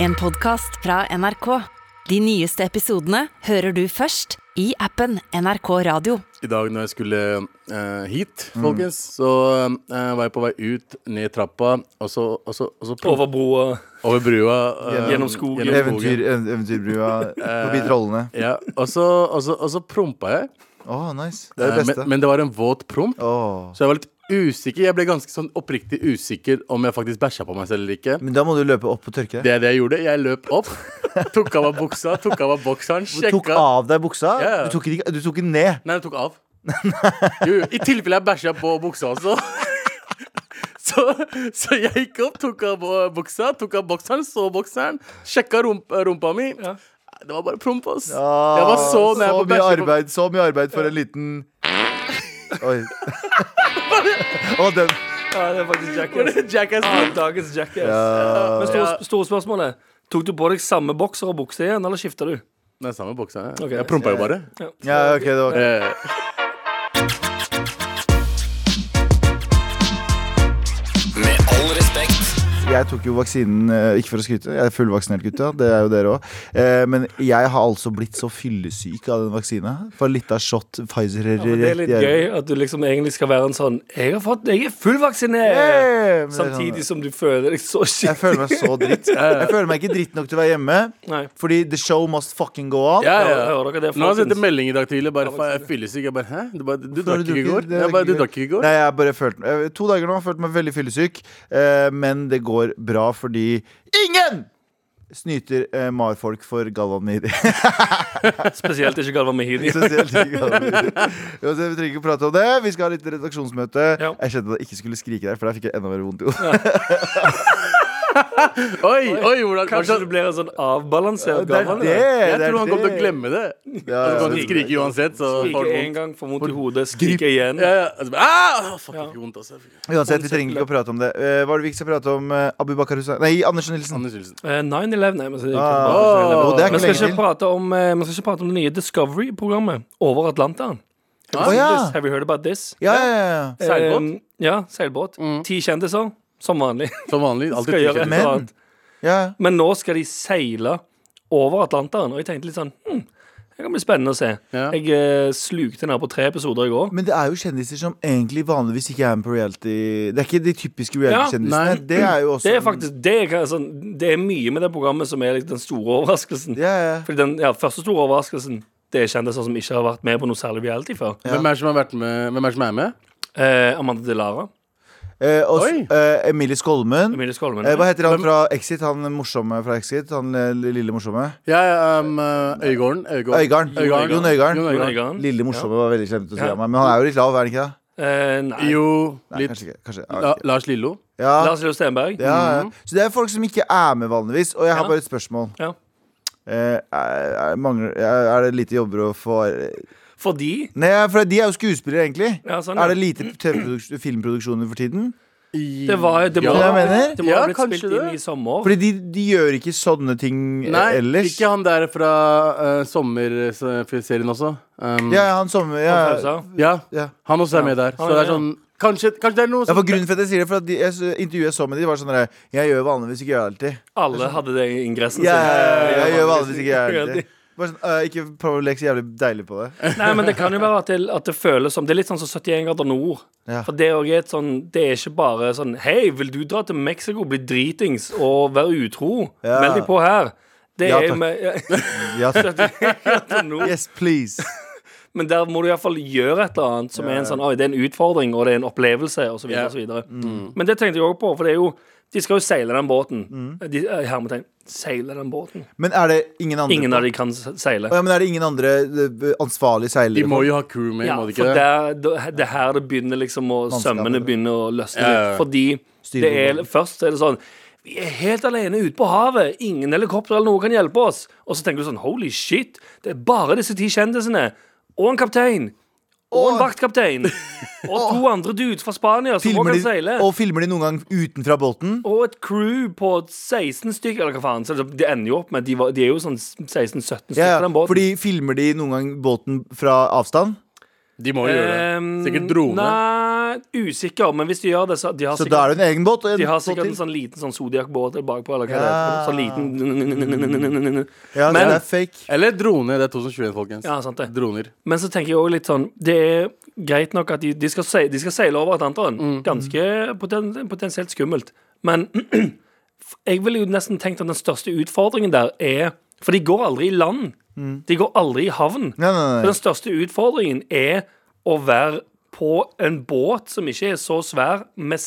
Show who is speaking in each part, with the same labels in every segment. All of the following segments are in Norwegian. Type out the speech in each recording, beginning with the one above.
Speaker 1: En podcast fra NRK. De nyeste episodene hører du først i appen NRK Radio.
Speaker 2: I dag når jeg skulle eh, hit,
Speaker 3: Mm.
Speaker 2: folkens, så eh, var jeg på vei ut, ned trappa, og så, og så, og så
Speaker 4: Over broa.
Speaker 2: over brua. eh,
Speaker 4: Gjennom skogen.
Speaker 2: skogen.
Speaker 3: Eventyr, ev- eventyrbrua forbi trollene.
Speaker 2: Ja, og så, og så, og så prompa jeg,
Speaker 3: Å, nice. Det er det
Speaker 2: eh, men,
Speaker 3: beste.
Speaker 2: men det var en våt promp,
Speaker 3: Åh.
Speaker 2: så jeg var litt usikker. Jeg ble ganske sånn oppriktig usikker om jeg faktisk bæsja på meg selv eller ikke.
Speaker 3: Men da må du løpe opp og tørke deg.
Speaker 2: Det er det jeg gjorde. Jeg løp opp, tok av meg buksa, tok av meg bokseren,
Speaker 3: Du tok
Speaker 2: sjekka
Speaker 3: av deg buksa.
Speaker 2: Ja, ja.
Speaker 3: Du tok den ikke- du tok den ned.
Speaker 2: Nei, den tok av. Jo, jo, I tilfelle jeg bæsja på buksa også. Så, så jeg gikk opp, tok av eh, buksa, tok av bokseren, så bokseren, sjekka rump, rumpa mi.
Speaker 4: Ja.
Speaker 2: Det var bare promp, ass.
Speaker 3: Ah,
Speaker 2: Jeg var så nær på å
Speaker 3: så mye
Speaker 2: bæsje på-
Speaker 3: arbeid, så mye arbeid for en liten Oi. Og den
Speaker 4: Ja, det er faktisk
Speaker 2: Var
Speaker 4: jackass.
Speaker 2: det Jackass
Speaker 4: Ja,
Speaker 2: promp?
Speaker 4: Dagens jackass.
Speaker 3: Ja.
Speaker 4: Men store,
Speaker 2: Ja.
Speaker 4: store spørsmålet. Tok du på deg samme bokser og bukse igjen, eller skifta du?
Speaker 2: Nei, samme buksa.
Speaker 4: Ok.
Speaker 2: Jeg prompa jo bare.
Speaker 3: Ja, OK, det var
Speaker 2: Eh,
Speaker 5: Med all respekt.
Speaker 3: Jeg tok jo vaksinen, eh, ikke for å skryte, jeg er fullvaksinert gutta, det er jo dere òg. Men jeg har altså blitt så fyllesyk av den vaksina. For litt av shot Pfizer
Speaker 4: Ja, men det er litt gøy at du liksom egentlig skal være en sånn Jeg har fått, jeg er fullvaksinert! Samtidig som du føler deg så
Speaker 3: sånn- Jeg
Speaker 4: skitt.
Speaker 3: føler meg så dritt. Jeg føler meg ikke dritt nok til å være hjemme.
Speaker 4: Nei.
Speaker 3: Fordi the show must fucking go on.
Speaker 2: ja,
Speaker 4: Ja,
Speaker 2: ja.
Speaker 4: hører dere det,
Speaker 2: Nå har jeg sendt en
Speaker 4: folkens?
Speaker 2: melding i dag tidlig. Bare faen, jeg er fyllesyk. Jeg bare hæ? Du, bare, du
Speaker 3: Har
Speaker 2: drakk ikke i går?
Speaker 3: Det
Speaker 2: Jeg bare, du drakk ikke i går?
Speaker 3: Nei, jeg har bare følt jeg- To dager nå har jeg følt meg veldig fyllesyk. eh, Men det går bra fordi ingen snyter eh, marfolk for Galvan Mehidi.
Speaker 4: Spesielt ikke Galvan Mehidi.
Speaker 3: Spesielt ikke Galvan Mehidi. Uansett, Vi trenger ikke prate om det. Vi skal ha litt redaksjonsmøte.
Speaker 4: Ja.
Speaker 3: Jeg kjente at jeg ikke skulle skrike der, for der fikk jeg enda mer vondt i hodet.
Speaker 2: Oi, oi, hvordan
Speaker 4: Kanskje du blir en sånn avbalansert
Speaker 3: Det er
Speaker 4: Galvan? ja.
Speaker 3: det!
Speaker 2: Jeg
Speaker 3: det er
Speaker 2: tror han kommer til å
Speaker 3: det.
Speaker 2: glemme det. Han
Speaker 3: Ja, ja,
Speaker 2: kommer til å
Speaker 3: det-
Speaker 2: skrike uansett, så får
Speaker 4: Skrike
Speaker 2: han
Speaker 4: én
Speaker 2: vondt.
Speaker 4: gang, får vondt i hodet, skrike igjen.
Speaker 2: Ja, ja. Altså, bare, ah, fuck, jeg fikk vondt, altså.
Speaker 3: Uansett, vi trenger ikke å prate om det. Eh, Hva er det vi ikke skal prate om? eh, Abu Bakar Hussein Nei, Andersen Nilsen.
Speaker 2: Anders Nilsen.
Speaker 4: Eh, 9-11 Nei, men så-
Speaker 3: Ah,
Speaker 2: jo,
Speaker 3: det er ikke
Speaker 4: Vi skal
Speaker 3: lenge
Speaker 4: ikke
Speaker 3: til.
Speaker 4: prate om, eh, vi skal ikke prate om det nye Discovery-programmet over Atlanteren. Have, you
Speaker 3: Å,
Speaker 4: seen
Speaker 2: Ah.
Speaker 3: ja.
Speaker 4: this? Have you heard about this?
Speaker 3: Ja, ja, ja.
Speaker 2: Seilbåt?
Speaker 4: Eh, ja, seilbåt. Ti kjendiser, som vanlig.
Speaker 2: Som vanlig. Alltid
Speaker 4: Skal gjøre
Speaker 2: trykker.
Speaker 4: et
Speaker 3: Men-
Speaker 4: eller annet.
Speaker 3: ja.
Speaker 4: Men nå skal de seile over Atlanteren, og jeg tenkte litt sånn hm, Det kan bli spennende å se.
Speaker 2: Ja.
Speaker 4: Jeg eh, slukte ned på tre episoder i går.
Speaker 3: Men det er jo kjendiser som egentlig vanligvis ikke er med på reality. Det er ikke de typiske
Speaker 2: Ja, nei.
Speaker 3: reality-kjendisene. det er jo også
Speaker 4: Det er faktisk det er, kan- sånn, det er mye med det programmet som er liksom den store overraskelsen.
Speaker 3: ja, ja.
Speaker 4: Fordi den ja, første store overraskelsen Det er kjendiser som ikke har vært med på noe særlig reality før.
Speaker 2: Hvem er det som har vært med? Hvem er det som er med?
Speaker 4: Eh, Amanda Delara.
Speaker 3: Eh, og
Speaker 2: Oi.
Speaker 3: eh, Emilie Skolmen.
Speaker 4: Emilie Skolmen.
Speaker 3: Eh, hva heter han fra Exit? Han morsomme fra Exit? Han eh, lille morsomme?
Speaker 2: Ja, ja, um, uh, Øygarden. Øygarden.
Speaker 3: Øygarden.
Speaker 2: Øygarden.
Speaker 3: Jon Øygarden.
Speaker 2: Jon Øygarden.
Speaker 4: Øygarden.
Speaker 3: Lille morsomme var veldig slemt å si
Speaker 4: Ja.
Speaker 3: av meg, men han er jo litt lav, er han ikke det?
Speaker 4: Eh, nei.
Speaker 2: Jo,
Speaker 3: Nei,
Speaker 2: litt.
Speaker 3: kanskje ikke. Kanskje,
Speaker 2: La,
Speaker 3: ja, ok.
Speaker 2: Lars Lillo.
Speaker 3: ja,
Speaker 4: Lars Lillo Stenberg.
Speaker 3: ja, ja. Så det er folk som ikke er med vanligvis, og jeg har
Speaker 4: Mhm. Ja.
Speaker 3: bare et spørsmål.
Speaker 4: Ja.
Speaker 3: Eh, er, er, mangler, er er det lite jobber å få
Speaker 4: Fordi
Speaker 3: Nei, for de er jo skuespillere, egentlig.
Speaker 4: Ja, sånn, ja.
Speaker 3: Er det lite TV-produks- filmproduksjoner for tiden?
Speaker 4: det var det må,
Speaker 2: Ja.
Speaker 3: Skjønner du hva jeg mener?
Speaker 4: det må
Speaker 2: Ja,
Speaker 4: ha blitt
Speaker 2: kanskje
Speaker 4: spilt
Speaker 2: det.
Speaker 4: inn i sommer.
Speaker 3: Fordi de, de gjør ikke sånne ting eh,
Speaker 2: Nei,
Speaker 3: ellers.
Speaker 2: ikke han der fra uh, sommerserien også. Um,
Speaker 3: Ja, han sommer... Ja,
Speaker 4: Han pausa.
Speaker 2: ja,
Speaker 3: ja.
Speaker 2: han også er med der. Så
Speaker 4: Han er
Speaker 2: det er
Speaker 4: med,
Speaker 2: sånn Kanskje, kanskje det er noe
Speaker 3: ja,
Speaker 2: som
Speaker 3: for grunnen for at jeg sier det, for at de, jeg, s- intervjuet jeg så med de, var sånn der Jeg gjør vanligvis ikke gjør alltid.
Speaker 4: Alle hadde det i ingressen
Speaker 3: Jeg, jeg,
Speaker 4: sin.
Speaker 3: gjør vanligvis ikke gjør alltid. Bare sånn, «Øh, ikke prøv å leke så jævlig deilig på det.
Speaker 4: Nei, men det kan jo være at det, at det føles som Det er litt sånn som 71 grader nord.
Speaker 3: Ja.
Speaker 4: For det, er også et sånn, det er ikke bare sånn Hei, vil du dra til Mexico, bli dritings og være utro?
Speaker 3: Ja.
Speaker 4: Meld deg på her. Det
Speaker 3: Ja,
Speaker 4: er
Speaker 3: takk.
Speaker 4: med
Speaker 3: Ja, så-
Speaker 4: 71 grader nord.
Speaker 3: yes, please.
Speaker 4: Men der må du iallfall gjøre et eller annet som er en sånn Oi, det er en utfordring, og det er en opplevelse, osv.
Speaker 2: Ja.
Speaker 4: videre og så videre.
Speaker 3: Mm.
Speaker 4: Mm. Men det tenkte jeg òg på, for det er jo De skal jo seile den båten.
Speaker 3: Mm.
Speaker 4: De, eh, hermetegn. Seile den båten.
Speaker 3: Men er det ingen andre
Speaker 4: Ingen av de kan se- seile.
Speaker 3: Å ja, men er det ingen andre eh, ansvarlige
Speaker 2: De
Speaker 3: seilere?
Speaker 2: må jo ha crew med,
Speaker 4: Ja,
Speaker 2: må de
Speaker 4: for
Speaker 2: ikke det?
Speaker 4: der, da- det er her det begynner liksom å
Speaker 3: Vanskelig,
Speaker 4: Sømmene
Speaker 3: det.
Speaker 4: begynner å løsne
Speaker 2: Ja, ja, ja.
Speaker 4: litt. Fordi det er, først er det sånn Vi er helt alene ute på havet. Ingen helikopter eller noe kan hjelpe oss. Og så tenker du sånn Holy shit, det er bare disse ti kjendisene. Og en kaptein. Og en
Speaker 3: Og-
Speaker 4: vaktkaptein. Og to andre dudes fra Spania som også kan
Speaker 3: Filmer de,
Speaker 4: seile.
Speaker 3: og filmer de noen gang utenfra båten?
Speaker 4: Og et crew på 16 stykker, eller hva faen. Så det ender jo opp med at de, var, de er jo sånn 16-17 stykker
Speaker 3: Ja,
Speaker 4: på den
Speaker 3: ja.
Speaker 4: båten.
Speaker 3: Fordi filmer de noen gang båten fra avstand?
Speaker 2: De må jo gjøre det.
Speaker 4: Ehm,
Speaker 2: Sikkert drone.
Speaker 4: Nei, eh, usikker, men hvis de gjør det, så de har
Speaker 3: Så da
Speaker 4: sikkert
Speaker 3: er det en egen båt. og en
Speaker 4: de har
Speaker 3: båt
Speaker 4: sikkert
Speaker 3: til.
Speaker 4: en sånn liten sånn Zodiac-båt bakpå. Eller hva
Speaker 3: Ja.
Speaker 4: det heter. Sånn liten
Speaker 3: Ja,
Speaker 4: Men-
Speaker 3: det er fake.
Speaker 2: Eller drone. Det er 2021, folkens.
Speaker 4: Ja, sant det.
Speaker 2: Droner.
Speaker 4: Men så tenker jeg også litt sånn Det er greit nok at de, de, skal, seile, de skal seile over Atlanteren.
Speaker 3: Mm.
Speaker 4: Ganske poten, potensielt skummelt. Men jeg ville jo nesten tenkt at den største utfordringen der er For de går aldri i land. De går aldri i havn.
Speaker 3: Mm. Nei, nei,
Speaker 4: Så
Speaker 3: nei.
Speaker 4: den største utfordringen er å være på en båt som ikke er så svær, med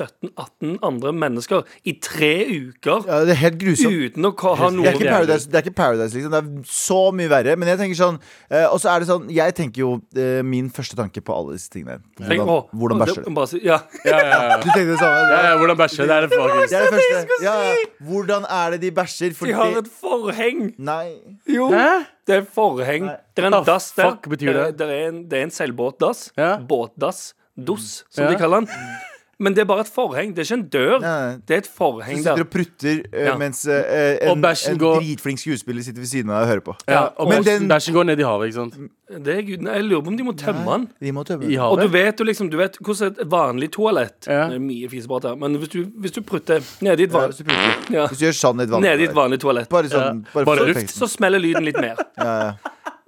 Speaker 4: 16-17-18 andre mennesker i tre uker
Speaker 3: Ja, det er helt grusomt.
Speaker 4: uten å ka- ha
Speaker 3: Det
Speaker 4: noe
Speaker 3: er, ikke paradise, det er ikke Paradise, liksom. Det er så mye verre. Men jeg tenker sånn eh, Og så er det sånn Jeg tenker jo eh, min første tanke på alle disse tingene.
Speaker 4: Tenk,
Speaker 3: Hvordan,
Speaker 4: å,
Speaker 3: hvordan
Speaker 4: det-
Speaker 3: bæsjer du?
Speaker 4: bare si- Ja.
Speaker 2: Ja, ja, ja.
Speaker 3: Du tenkte det samme?
Speaker 2: ja, ja hvordan bæsje? Det er det
Speaker 3: Det
Speaker 2: faktisk.
Speaker 3: er det første. Ja, ja. hvordan er det de bæsjer?
Speaker 4: De har et forheng.
Speaker 3: Nei.
Speaker 4: Jo, det er forheng. Det er en
Speaker 2: What the
Speaker 4: dass der. Eh,
Speaker 2: fuck betyr det?
Speaker 4: Det er en, det er en seilbåtdass.
Speaker 2: Ja.
Speaker 4: Båtdass. Dos, som
Speaker 2: Ja.
Speaker 4: de kaller den. Men det er bare et forheng. Det er ikke en dør.
Speaker 3: Nei, nei.
Speaker 4: Det er et forheng
Speaker 3: sitter
Speaker 4: der.
Speaker 3: og prutter eh,
Speaker 4: Ja.
Speaker 3: mens eh,
Speaker 2: Og
Speaker 3: en,
Speaker 2: bæsjen
Speaker 3: en
Speaker 2: går-
Speaker 3: dritflink skuespiller sitter ved siden av deg og hører på.
Speaker 2: Ja, og
Speaker 3: Men den-
Speaker 2: bæsjen går ned i havet, ikke sant?
Speaker 4: Det er gud, jeg lurer på om de må tømme den.
Speaker 3: De må tømme.
Speaker 2: I
Speaker 3: den.
Speaker 4: Og du
Speaker 2: havet.
Speaker 4: vet jo liksom, du vet hvordan et vanlig toalett
Speaker 2: Ja.
Speaker 4: Det er mye fiseprat her, men hvis du, hvis du prutter nedi et,
Speaker 3: Ja,
Speaker 4: van,
Speaker 3: hvis, du prutter.
Speaker 4: ja,
Speaker 3: hvis du gjør sånn i et vanlig
Speaker 4: ned i et vanlig toalett,
Speaker 3: Bare sånn.
Speaker 2: Ja.
Speaker 3: Bare,
Speaker 2: Bare
Speaker 3: for
Speaker 2: luft,
Speaker 3: effekten.
Speaker 4: så smeller lyden litt mer.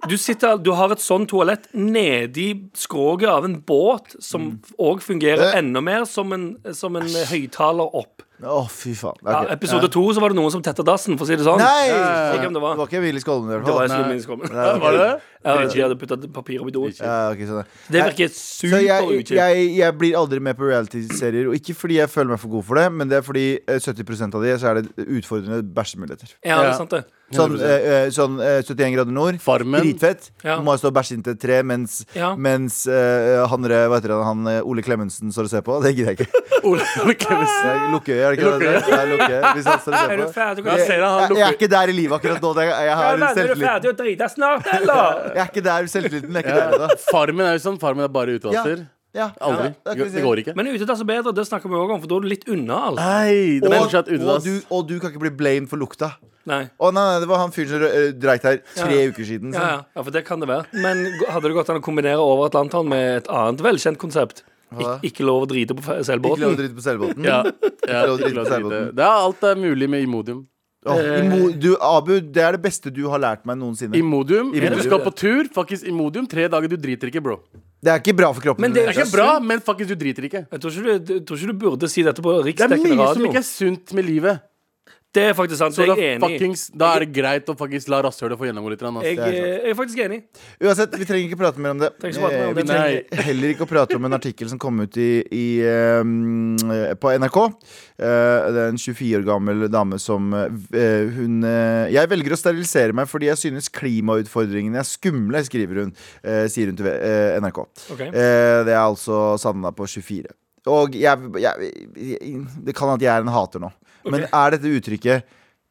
Speaker 4: Du, sitter, du har et sånn toalett nedi skroget av en båt, som
Speaker 3: Mm.
Speaker 4: òg fungerer
Speaker 3: Øh.
Speaker 4: enda mer som en, som en høyttaler opp.
Speaker 3: Å, fy faen. Ok.
Speaker 4: Ja, episode to så var det noen som tetta dassen, for å si det sånn.
Speaker 3: Nei!
Speaker 4: Jeg vet ikke hvem det
Speaker 3: Det
Speaker 4: var.
Speaker 3: var ikke Willy Skolmen i hvert
Speaker 4: Det var
Speaker 3: fall.
Speaker 4: jeg som minst kom.
Speaker 3: Nei, ok.
Speaker 2: Var det?
Speaker 4: Jeg vet ikke, jeg hadde putta papir opp i doen.
Speaker 3: Ja, ok, sånn. er.
Speaker 4: Det virker
Speaker 3: Så jeg,
Speaker 4: superutgift.
Speaker 3: jeg, jeg blir aldri med på reality-serier. Og ikke fordi jeg føler meg for god for det, men det er fordi eh, 70 av de så er det utfordrende bæsjemuligheter.
Speaker 4: Ja, det er sant, det.
Speaker 3: Sånn, eh, eh, sånn eh, 71 grader nord.
Speaker 2: Farmen.
Speaker 3: Dritfett.
Speaker 4: Ja.
Speaker 3: Må jeg stå og bæsje inntil et tre mens,
Speaker 4: Ja.
Speaker 3: mens eh, han, der, hva heter han, han eh, Ole Klemetsen står og ser på. Det gidder jeg ikke.
Speaker 2: Ole Ole Klemetsen.
Speaker 3: Det er Lukkeøy, er det ikke det? det? er? Lukkeøy, hvis han står og
Speaker 4: Er
Speaker 3: ser
Speaker 4: du
Speaker 3: på.
Speaker 4: ferdig? Du kan se det, han
Speaker 3: Jeg, jeg er
Speaker 4: lukker
Speaker 3: ikke der i livet akkurat nå. det er- Jeg
Speaker 4: Ja,
Speaker 3: har
Speaker 4: men, Er du
Speaker 3: selvtillit.
Speaker 4: ferdig å drite snart, eller?
Speaker 3: Jeg er ikke der selvtilliten. Jeg er ikke der ennå.
Speaker 2: Farmen er jo sånn. Farmen er bare utedatter.
Speaker 3: Ja.
Speaker 2: Aldri.
Speaker 3: Ja, kan vi si.
Speaker 2: Det går ikke.
Speaker 4: Men utedass er bedre, det snakker vi òg om, for da er du litt unna alt.
Speaker 2: Nei, det er
Speaker 3: Og,
Speaker 2: fortsatt
Speaker 3: og,
Speaker 2: utedass.
Speaker 3: du, og du kan ikke bli blamed for lukta.
Speaker 4: Nei.
Speaker 3: Å nei, nei, det var han fyren som eh, dreit her tre
Speaker 4: Ja.
Speaker 3: uker siden.
Speaker 4: Ja, ja. ja, for det kan det være. Men g- hadde det gått an å kombinere over Atlanteren med et annet velkjent konsept?
Speaker 3: Hva da?
Speaker 4: Ik ikke lov å drite på fe-
Speaker 3: Ikke lov å
Speaker 4: seilbåten?
Speaker 3: drite på seilbåten.
Speaker 2: Ja. ja
Speaker 3: lov å drite
Speaker 2: ikke lov
Speaker 3: på
Speaker 2: å
Speaker 3: seilbåten.
Speaker 2: drite. Det er alt er mulig med Imodium.
Speaker 3: Åh, imo- du, Abu, det er det beste du har lært meg noensinne.
Speaker 2: Imodium.
Speaker 3: Imodium.
Speaker 2: Du skal på tur, faktisk Imodium. Tre dager, du driter ikke, bro.
Speaker 3: Det er ikke bra for kroppen.
Speaker 4: Men det er
Speaker 2: Det er ikke bra, men faktisk, du driter ikke.
Speaker 4: Jeg tror ikke, du, jeg tror ikke du burde si dette på
Speaker 2: Det er
Speaker 4: riksdekkende
Speaker 2: mye som
Speaker 4: radio.
Speaker 2: ikke er sunt med livet.
Speaker 4: Det er faktisk sant.
Speaker 2: Så
Speaker 4: det
Speaker 2: da,
Speaker 4: er jeg enig i.
Speaker 2: fuckings, da er det greit å faktisk la rasshølet få gjennomgå litt. grann, ass.
Speaker 4: Jeg, eh, jeg er faktisk enig.
Speaker 3: Uansett, vi trenger ikke prate mer om det.
Speaker 4: Trenger ikke prate mer om
Speaker 3: Eh,
Speaker 4: det.
Speaker 3: vi trenger heller ikke å prate om en artikkel som kom ut i, i, eh, på NRK. Eh, det er en 24 år gammel dame som eh, Hun eh, Jeg velger å sterilisere meg fordi jeg synes klimautfordringene er skumle, skriver hun, eh, sier hun til eh, NRK.
Speaker 4: Ok.
Speaker 3: Eh, det er altså Sanna på 24. Og jeg, jeg, jeg Det kan at jeg er en hater nå. Men er dette uttrykket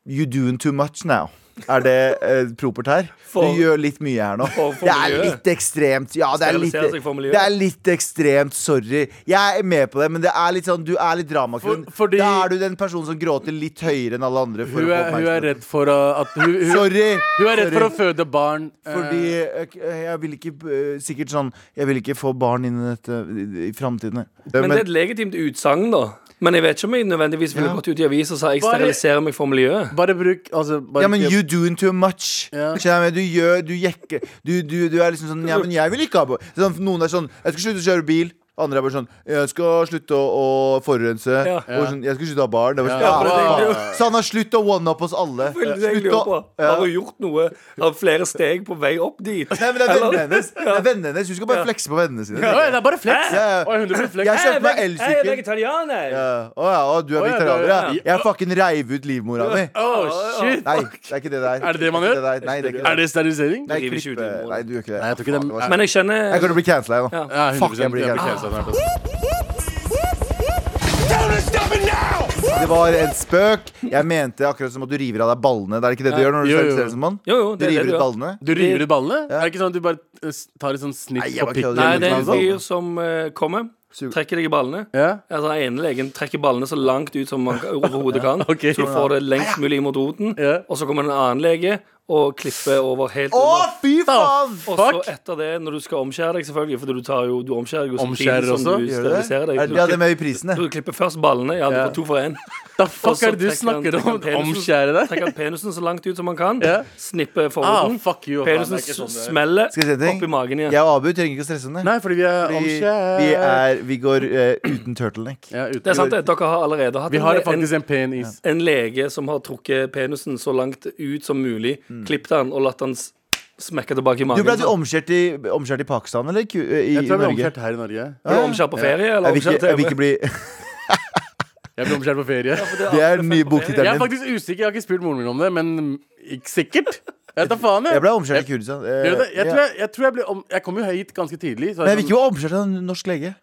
Speaker 3: 'you doing too much now'? Er det eh, propert her?
Speaker 4: For-
Speaker 3: du gjør litt mye her nå.
Speaker 4: For- for
Speaker 3: det er
Speaker 4: miljøet.
Speaker 3: litt ekstremt. Ja, det er litt,
Speaker 4: Sterilisere seg for miljøet.
Speaker 3: det er litt ekstremt. Sorry. Jeg er med på det, men det er litt sånn, du er litt dramakunn.
Speaker 2: For- fordi-
Speaker 3: Da er du den personen som gråter litt høyere enn alle andre. For
Speaker 2: Hun
Speaker 3: å
Speaker 2: er,
Speaker 3: få
Speaker 2: hun er
Speaker 3: oppmerksomhet.
Speaker 2: redd for uh, at hun, hun,
Speaker 3: Sorry!
Speaker 2: hun er redd for å
Speaker 3: Sorry.
Speaker 2: føde barn. eh,
Speaker 3: Fordi eh, k- jeg vil ikke eh, Sikkert sånn Jeg vil ikke få barn inn i dette i, i framtiden.
Speaker 4: Men det er et legitimt utsagn, da. Men jeg vet ikke om jeg nødvendigvis ville
Speaker 3: Ja.
Speaker 4: gått ut i avisa og sa jeg
Speaker 2: Bare-
Speaker 4: steriliserer meg for miljøet.
Speaker 2: Bare bruk altså, bare,
Speaker 3: ja, men you doing too much.
Speaker 2: Ja.
Speaker 3: Skjønner jeg, men du gjør Du jekker du, du, du er liksom sånn Ja, men jeg vil ikke ha bo-» sånn, Noen er sånn Jeg skal slutte å kjøre bil. Andre er bare sånn Jeg skal slutte å, å forurense.
Speaker 4: Ja.
Speaker 3: Og sånn, jeg skal slutte å ha barn. Det er bare
Speaker 2: Ja,
Speaker 3: sånn,
Speaker 4: for det
Speaker 3: «Ah,
Speaker 4: tenker
Speaker 3: faen». Så han har slutt å one up oss alle.
Speaker 4: Det er det jeg
Speaker 3: Eh, Slutt
Speaker 4: lurer på.
Speaker 3: å- Ja.
Speaker 4: Har hun gjort noe? Har flere steg på vei opp dit?
Speaker 3: Nei, men det er
Speaker 4: Eller-
Speaker 3: vennene hennes. Det er vennene hennes Hun skal bare flekse på vennene sine.
Speaker 2: Oi, Det er bare flex.
Speaker 3: Ja, ja.
Speaker 2: Oi, 100% flex.
Speaker 3: Jeg kjøpte
Speaker 4: Jeg er
Speaker 3: meg
Speaker 4: veg- jeg er
Speaker 3: elsykkel.
Speaker 4: vegetarianer!
Speaker 3: Ja. Å ja, å, du
Speaker 2: Å
Speaker 3: er
Speaker 2: ja,
Speaker 3: vegetarianer, ja?
Speaker 2: da- ja.
Speaker 3: Jeg fucking reiv ut livmora mi.
Speaker 2: Oh, shit.
Speaker 3: Nei, det er ikke det der.
Speaker 2: Er det det man gjør?
Speaker 3: der. Nei, det er ikke
Speaker 2: Er det
Speaker 3: det.
Speaker 2: sterilisering?
Speaker 3: Nei,
Speaker 4: Driver ikke ut
Speaker 3: klippe.
Speaker 4: livmora.
Speaker 3: Nei, du gjør ikke det.
Speaker 2: Nei, jeg tror ikke det-
Speaker 3: Faen, det var-
Speaker 4: Men jeg kjenner
Speaker 3: Jeg kommer til å bli cancela nå.
Speaker 4: Ja.
Speaker 2: Ja, 100%
Speaker 3: Fuck, jeg
Speaker 2: det
Speaker 3: blir
Speaker 2: er
Speaker 3: gæren.
Speaker 2: cancelled snart, ass.
Speaker 3: Det var en spøk. Jeg mente akkurat som at du river av deg ballene. Det er ikke det du gjør når
Speaker 2: Jo,
Speaker 3: du
Speaker 2: jo, jo.
Speaker 3: steriliserer som mann?
Speaker 4: Jo, jo,
Speaker 3: Du
Speaker 4: det er det
Speaker 3: river
Speaker 4: du
Speaker 3: ut
Speaker 4: gjør.
Speaker 3: ballene?
Speaker 2: Du river ut ballene? Er det ikke sånn at du bare eh, s- tar et sånn
Speaker 3: Nei, sånn-
Speaker 2: snitt
Speaker 3: jeg
Speaker 2: på
Speaker 3: bare kødder.
Speaker 2: pikken?
Speaker 4: Nei, det er en
Speaker 3: Eller noe
Speaker 4: fyr som eh, kommer,
Speaker 3: Suger.
Speaker 4: trekker deg i ballene.
Speaker 2: Ja?
Speaker 4: Altså, den ene legen trekker ballene så langt ut som man overhodet kan,
Speaker 2: ok.
Speaker 4: så du får det lengst mulig mot roten.
Speaker 2: Ja.
Speaker 4: Og så kommer en annen lege og klipper over helt
Speaker 3: Å,
Speaker 4: under.
Speaker 3: fy faen!
Speaker 4: Og så etter det, når du skal omskjære deg, selvfølgelig, for du, tar jo, du omskjærer jo
Speaker 2: Omskjærer
Speaker 4: samtidig
Speaker 2: også?
Speaker 4: som du
Speaker 3: Gjør du det?
Speaker 4: steriliserer deg.
Speaker 3: Er det- Ja, det er med i prisen,
Speaker 4: Du
Speaker 3: det.
Speaker 4: klipper først ballene. Ja, du
Speaker 2: Ja.
Speaker 4: får to for én.
Speaker 2: The
Speaker 4: Og
Speaker 2: fuck
Speaker 4: så
Speaker 2: er det du
Speaker 4: trekker han-
Speaker 2: snakker om?
Speaker 4: trekker han penisen-
Speaker 2: Omskjære deg?
Speaker 4: Trekker han penisen så langt ut som han kan.
Speaker 2: Ja.
Speaker 4: Snipper
Speaker 2: Ah,
Speaker 4: forhuden.
Speaker 2: fuck you. faen, det er
Speaker 4: penisen
Speaker 2: ikke sånn det er.
Speaker 4: smeller
Speaker 3: Skal jeg si en ting?
Speaker 4: opp i magen igjen.
Speaker 3: Jeg og Abu trenger ikke å stresse om det.
Speaker 2: Nei, fordi vi er
Speaker 3: Vi,
Speaker 2: omskjært.
Speaker 3: vi, er, vi går eh, uten turtleneck.
Speaker 2: ja, uten-
Speaker 4: Det er sant, det. Dere har allerede hatt
Speaker 2: Vi har
Speaker 4: en, en,
Speaker 2: faktisk en penis.
Speaker 4: en lege som har trukket penisen så langt ut som mulig, klippet han og latt han s- smekke tilbake i
Speaker 3: Mm.
Speaker 4: magen.
Speaker 3: Du ble du omskjært i, omskjært i Pakistan eller ku- eh, i, i
Speaker 2: Jeg tror jeg ble
Speaker 3: Norge?
Speaker 2: omskjært her i Norge.
Speaker 4: Ble du omskjært på ferie, eller
Speaker 3: Jeg vil, ikke,
Speaker 4: omskjært
Speaker 3: jeg vil
Speaker 4: TV?
Speaker 3: ikke bli
Speaker 2: Jeg ble omskjært på ferie.
Speaker 3: Det er den nye
Speaker 2: Jeg er
Speaker 3: boktittelen din.
Speaker 2: faktisk usikker, jeg har ikke spurt moren min om det, men ikke sikkert. Jeg tar faen, jeg.
Speaker 3: Jeg ble omskjært i Kurdistan. Eh,
Speaker 2: Gjør du det? Jeg, tror
Speaker 3: ja.
Speaker 2: jeg, jeg tror jeg ble om... Jeg kom jo hit ganske tidlig. Så sånn-
Speaker 3: Men jeg vil ikke bli omskjært av en norsk lege.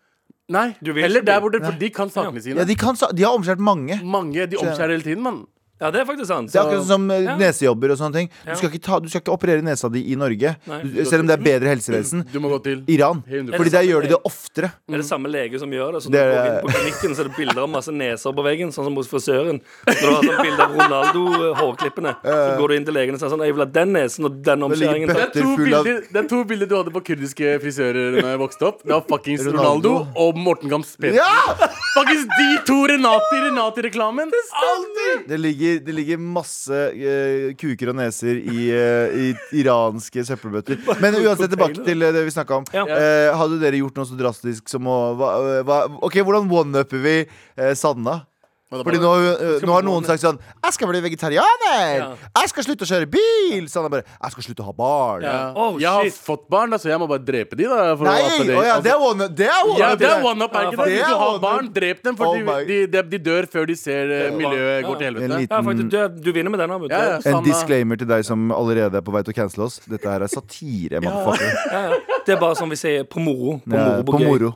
Speaker 2: Nei,
Speaker 4: Du vil
Speaker 2: Heller
Speaker 4: ikke
Speaker 2: der
Speaker 4: bli-
Speaker 2: borte, for de kan sakene sine.
Speaker 3: Ja, de, kan, sa- de har omskjært mange.
Speaker 2: Mange de omskjærer hele tiden, mann.
Speaker 4: Ja, det er faktisk sant.
Speaker 3: Det er akkurat sånn som eh,
Speaker 4: Ja.
Speaker 3: nesejobber og sånne ting. Du
Speaker 4: Ja.
Speaker 3: skal ikke, ta, du skal ikke operere nesa di i Norge,
Speaker 4: Nei.
Speaker 3: du, selv om det er bedre helsevesen.
Speaker 2: Du må gå til
Speaker 3: Iran.
Speaker 2: 100%.
Speaker 3: Fordi der gjør de det oftere.
Speaker 4: Det er det samme lege som gjør det. Så
Speaker 3: Det
Speaker 4: når du går
Speaker 3: er-
Speaker 4: inn på klinikken Så er det bilder av masse neser på veggen, sånn som hos frisøren. Når du har sånn bilde av Ronaldo-hårklippene, så går du inn til legen og sier sånn Jeg vil ha den nesen og den
Speaker 3: Det ligger
Speaker 4: omskjæringen.
Speaker 3: bø-
Speaker 2: Det er, to
Speaker 3: Full av-
Speaker 2: bilder, det er to bilder du hadde på kurdiske frisører da jeg vokste opp. Det var fuckings Ronaldo,
Speaker 3: Ronaldo.
Speaker 2: og Morten Gams Pedersen.
Speaker 3: Ja!
Speaker 2: Faktisk de to Renati Renati-reklamen. Alltid!
Speaker 3: Det ligger, det ligger masse eh, kuker og neser i, eh, i iranske søppelbøtter. Men uansett tilbake til eh, det vi snakka om.
Speaker 4: Ja.
Speaker 3: Eh, hadde dere gjort noe så drastisk som å hva, eh, hva, Ok, Hvordan one-upper vi eh, Sanna? Fordi nå, eh, nå har noen sagt sånn 'Jeg skal bli vegetarianer!
Speaker 4: Ja.
Speaker 3: Jeg skal slutte å kjøre bil!' Sanna bare 'Jeg skal slutte å ha barn'.
Speaker 2: Ja.
Speaker 4: Oh,
Speaker 2: Jeg har
Speaker 4: shit.
Speaker 2: fått barn, da, så jeg må bare drepe de, da. For
Speaker 3: Nei!
Speaker 2: at
Speaker 3: Å ja, det er one- det er one-up.
Speaker 2: ja, det er one up, er ikke det?
Speaker 3: Det
Speaker 2: Hvis
Speaker 3: er
Speaker 2: du har
Speaker 3: one-up.
Speaker 2: barn, drep dem, for
Speaker 3: Oh
Speaker 2: de,
Speaker 3: my-
Speaker 2: de, de, de dør før de ser eh, miljøet går til
Speaker 3: En
Speaker 2: helvete.
Speaker 3: liten-
Speaker 4: Ja, faktisk, du, du vinner med den. Abu.
Speaker 2: Mm. Ja, ja.
Speaker 3: En
Speaker 2: Sanna.
Speaker 3: disclaimer til deg som allerede er på vei til å cancele oss. Dette her er satire. motherfucker.
Speaker 4: Ja, ja. Det er bare som vi sier på moro. På
Speaker 3: Ja,
Speaker 4: moro, på
Speaker 3: På
Speaker 4: gøy.
Speaker 3: moro.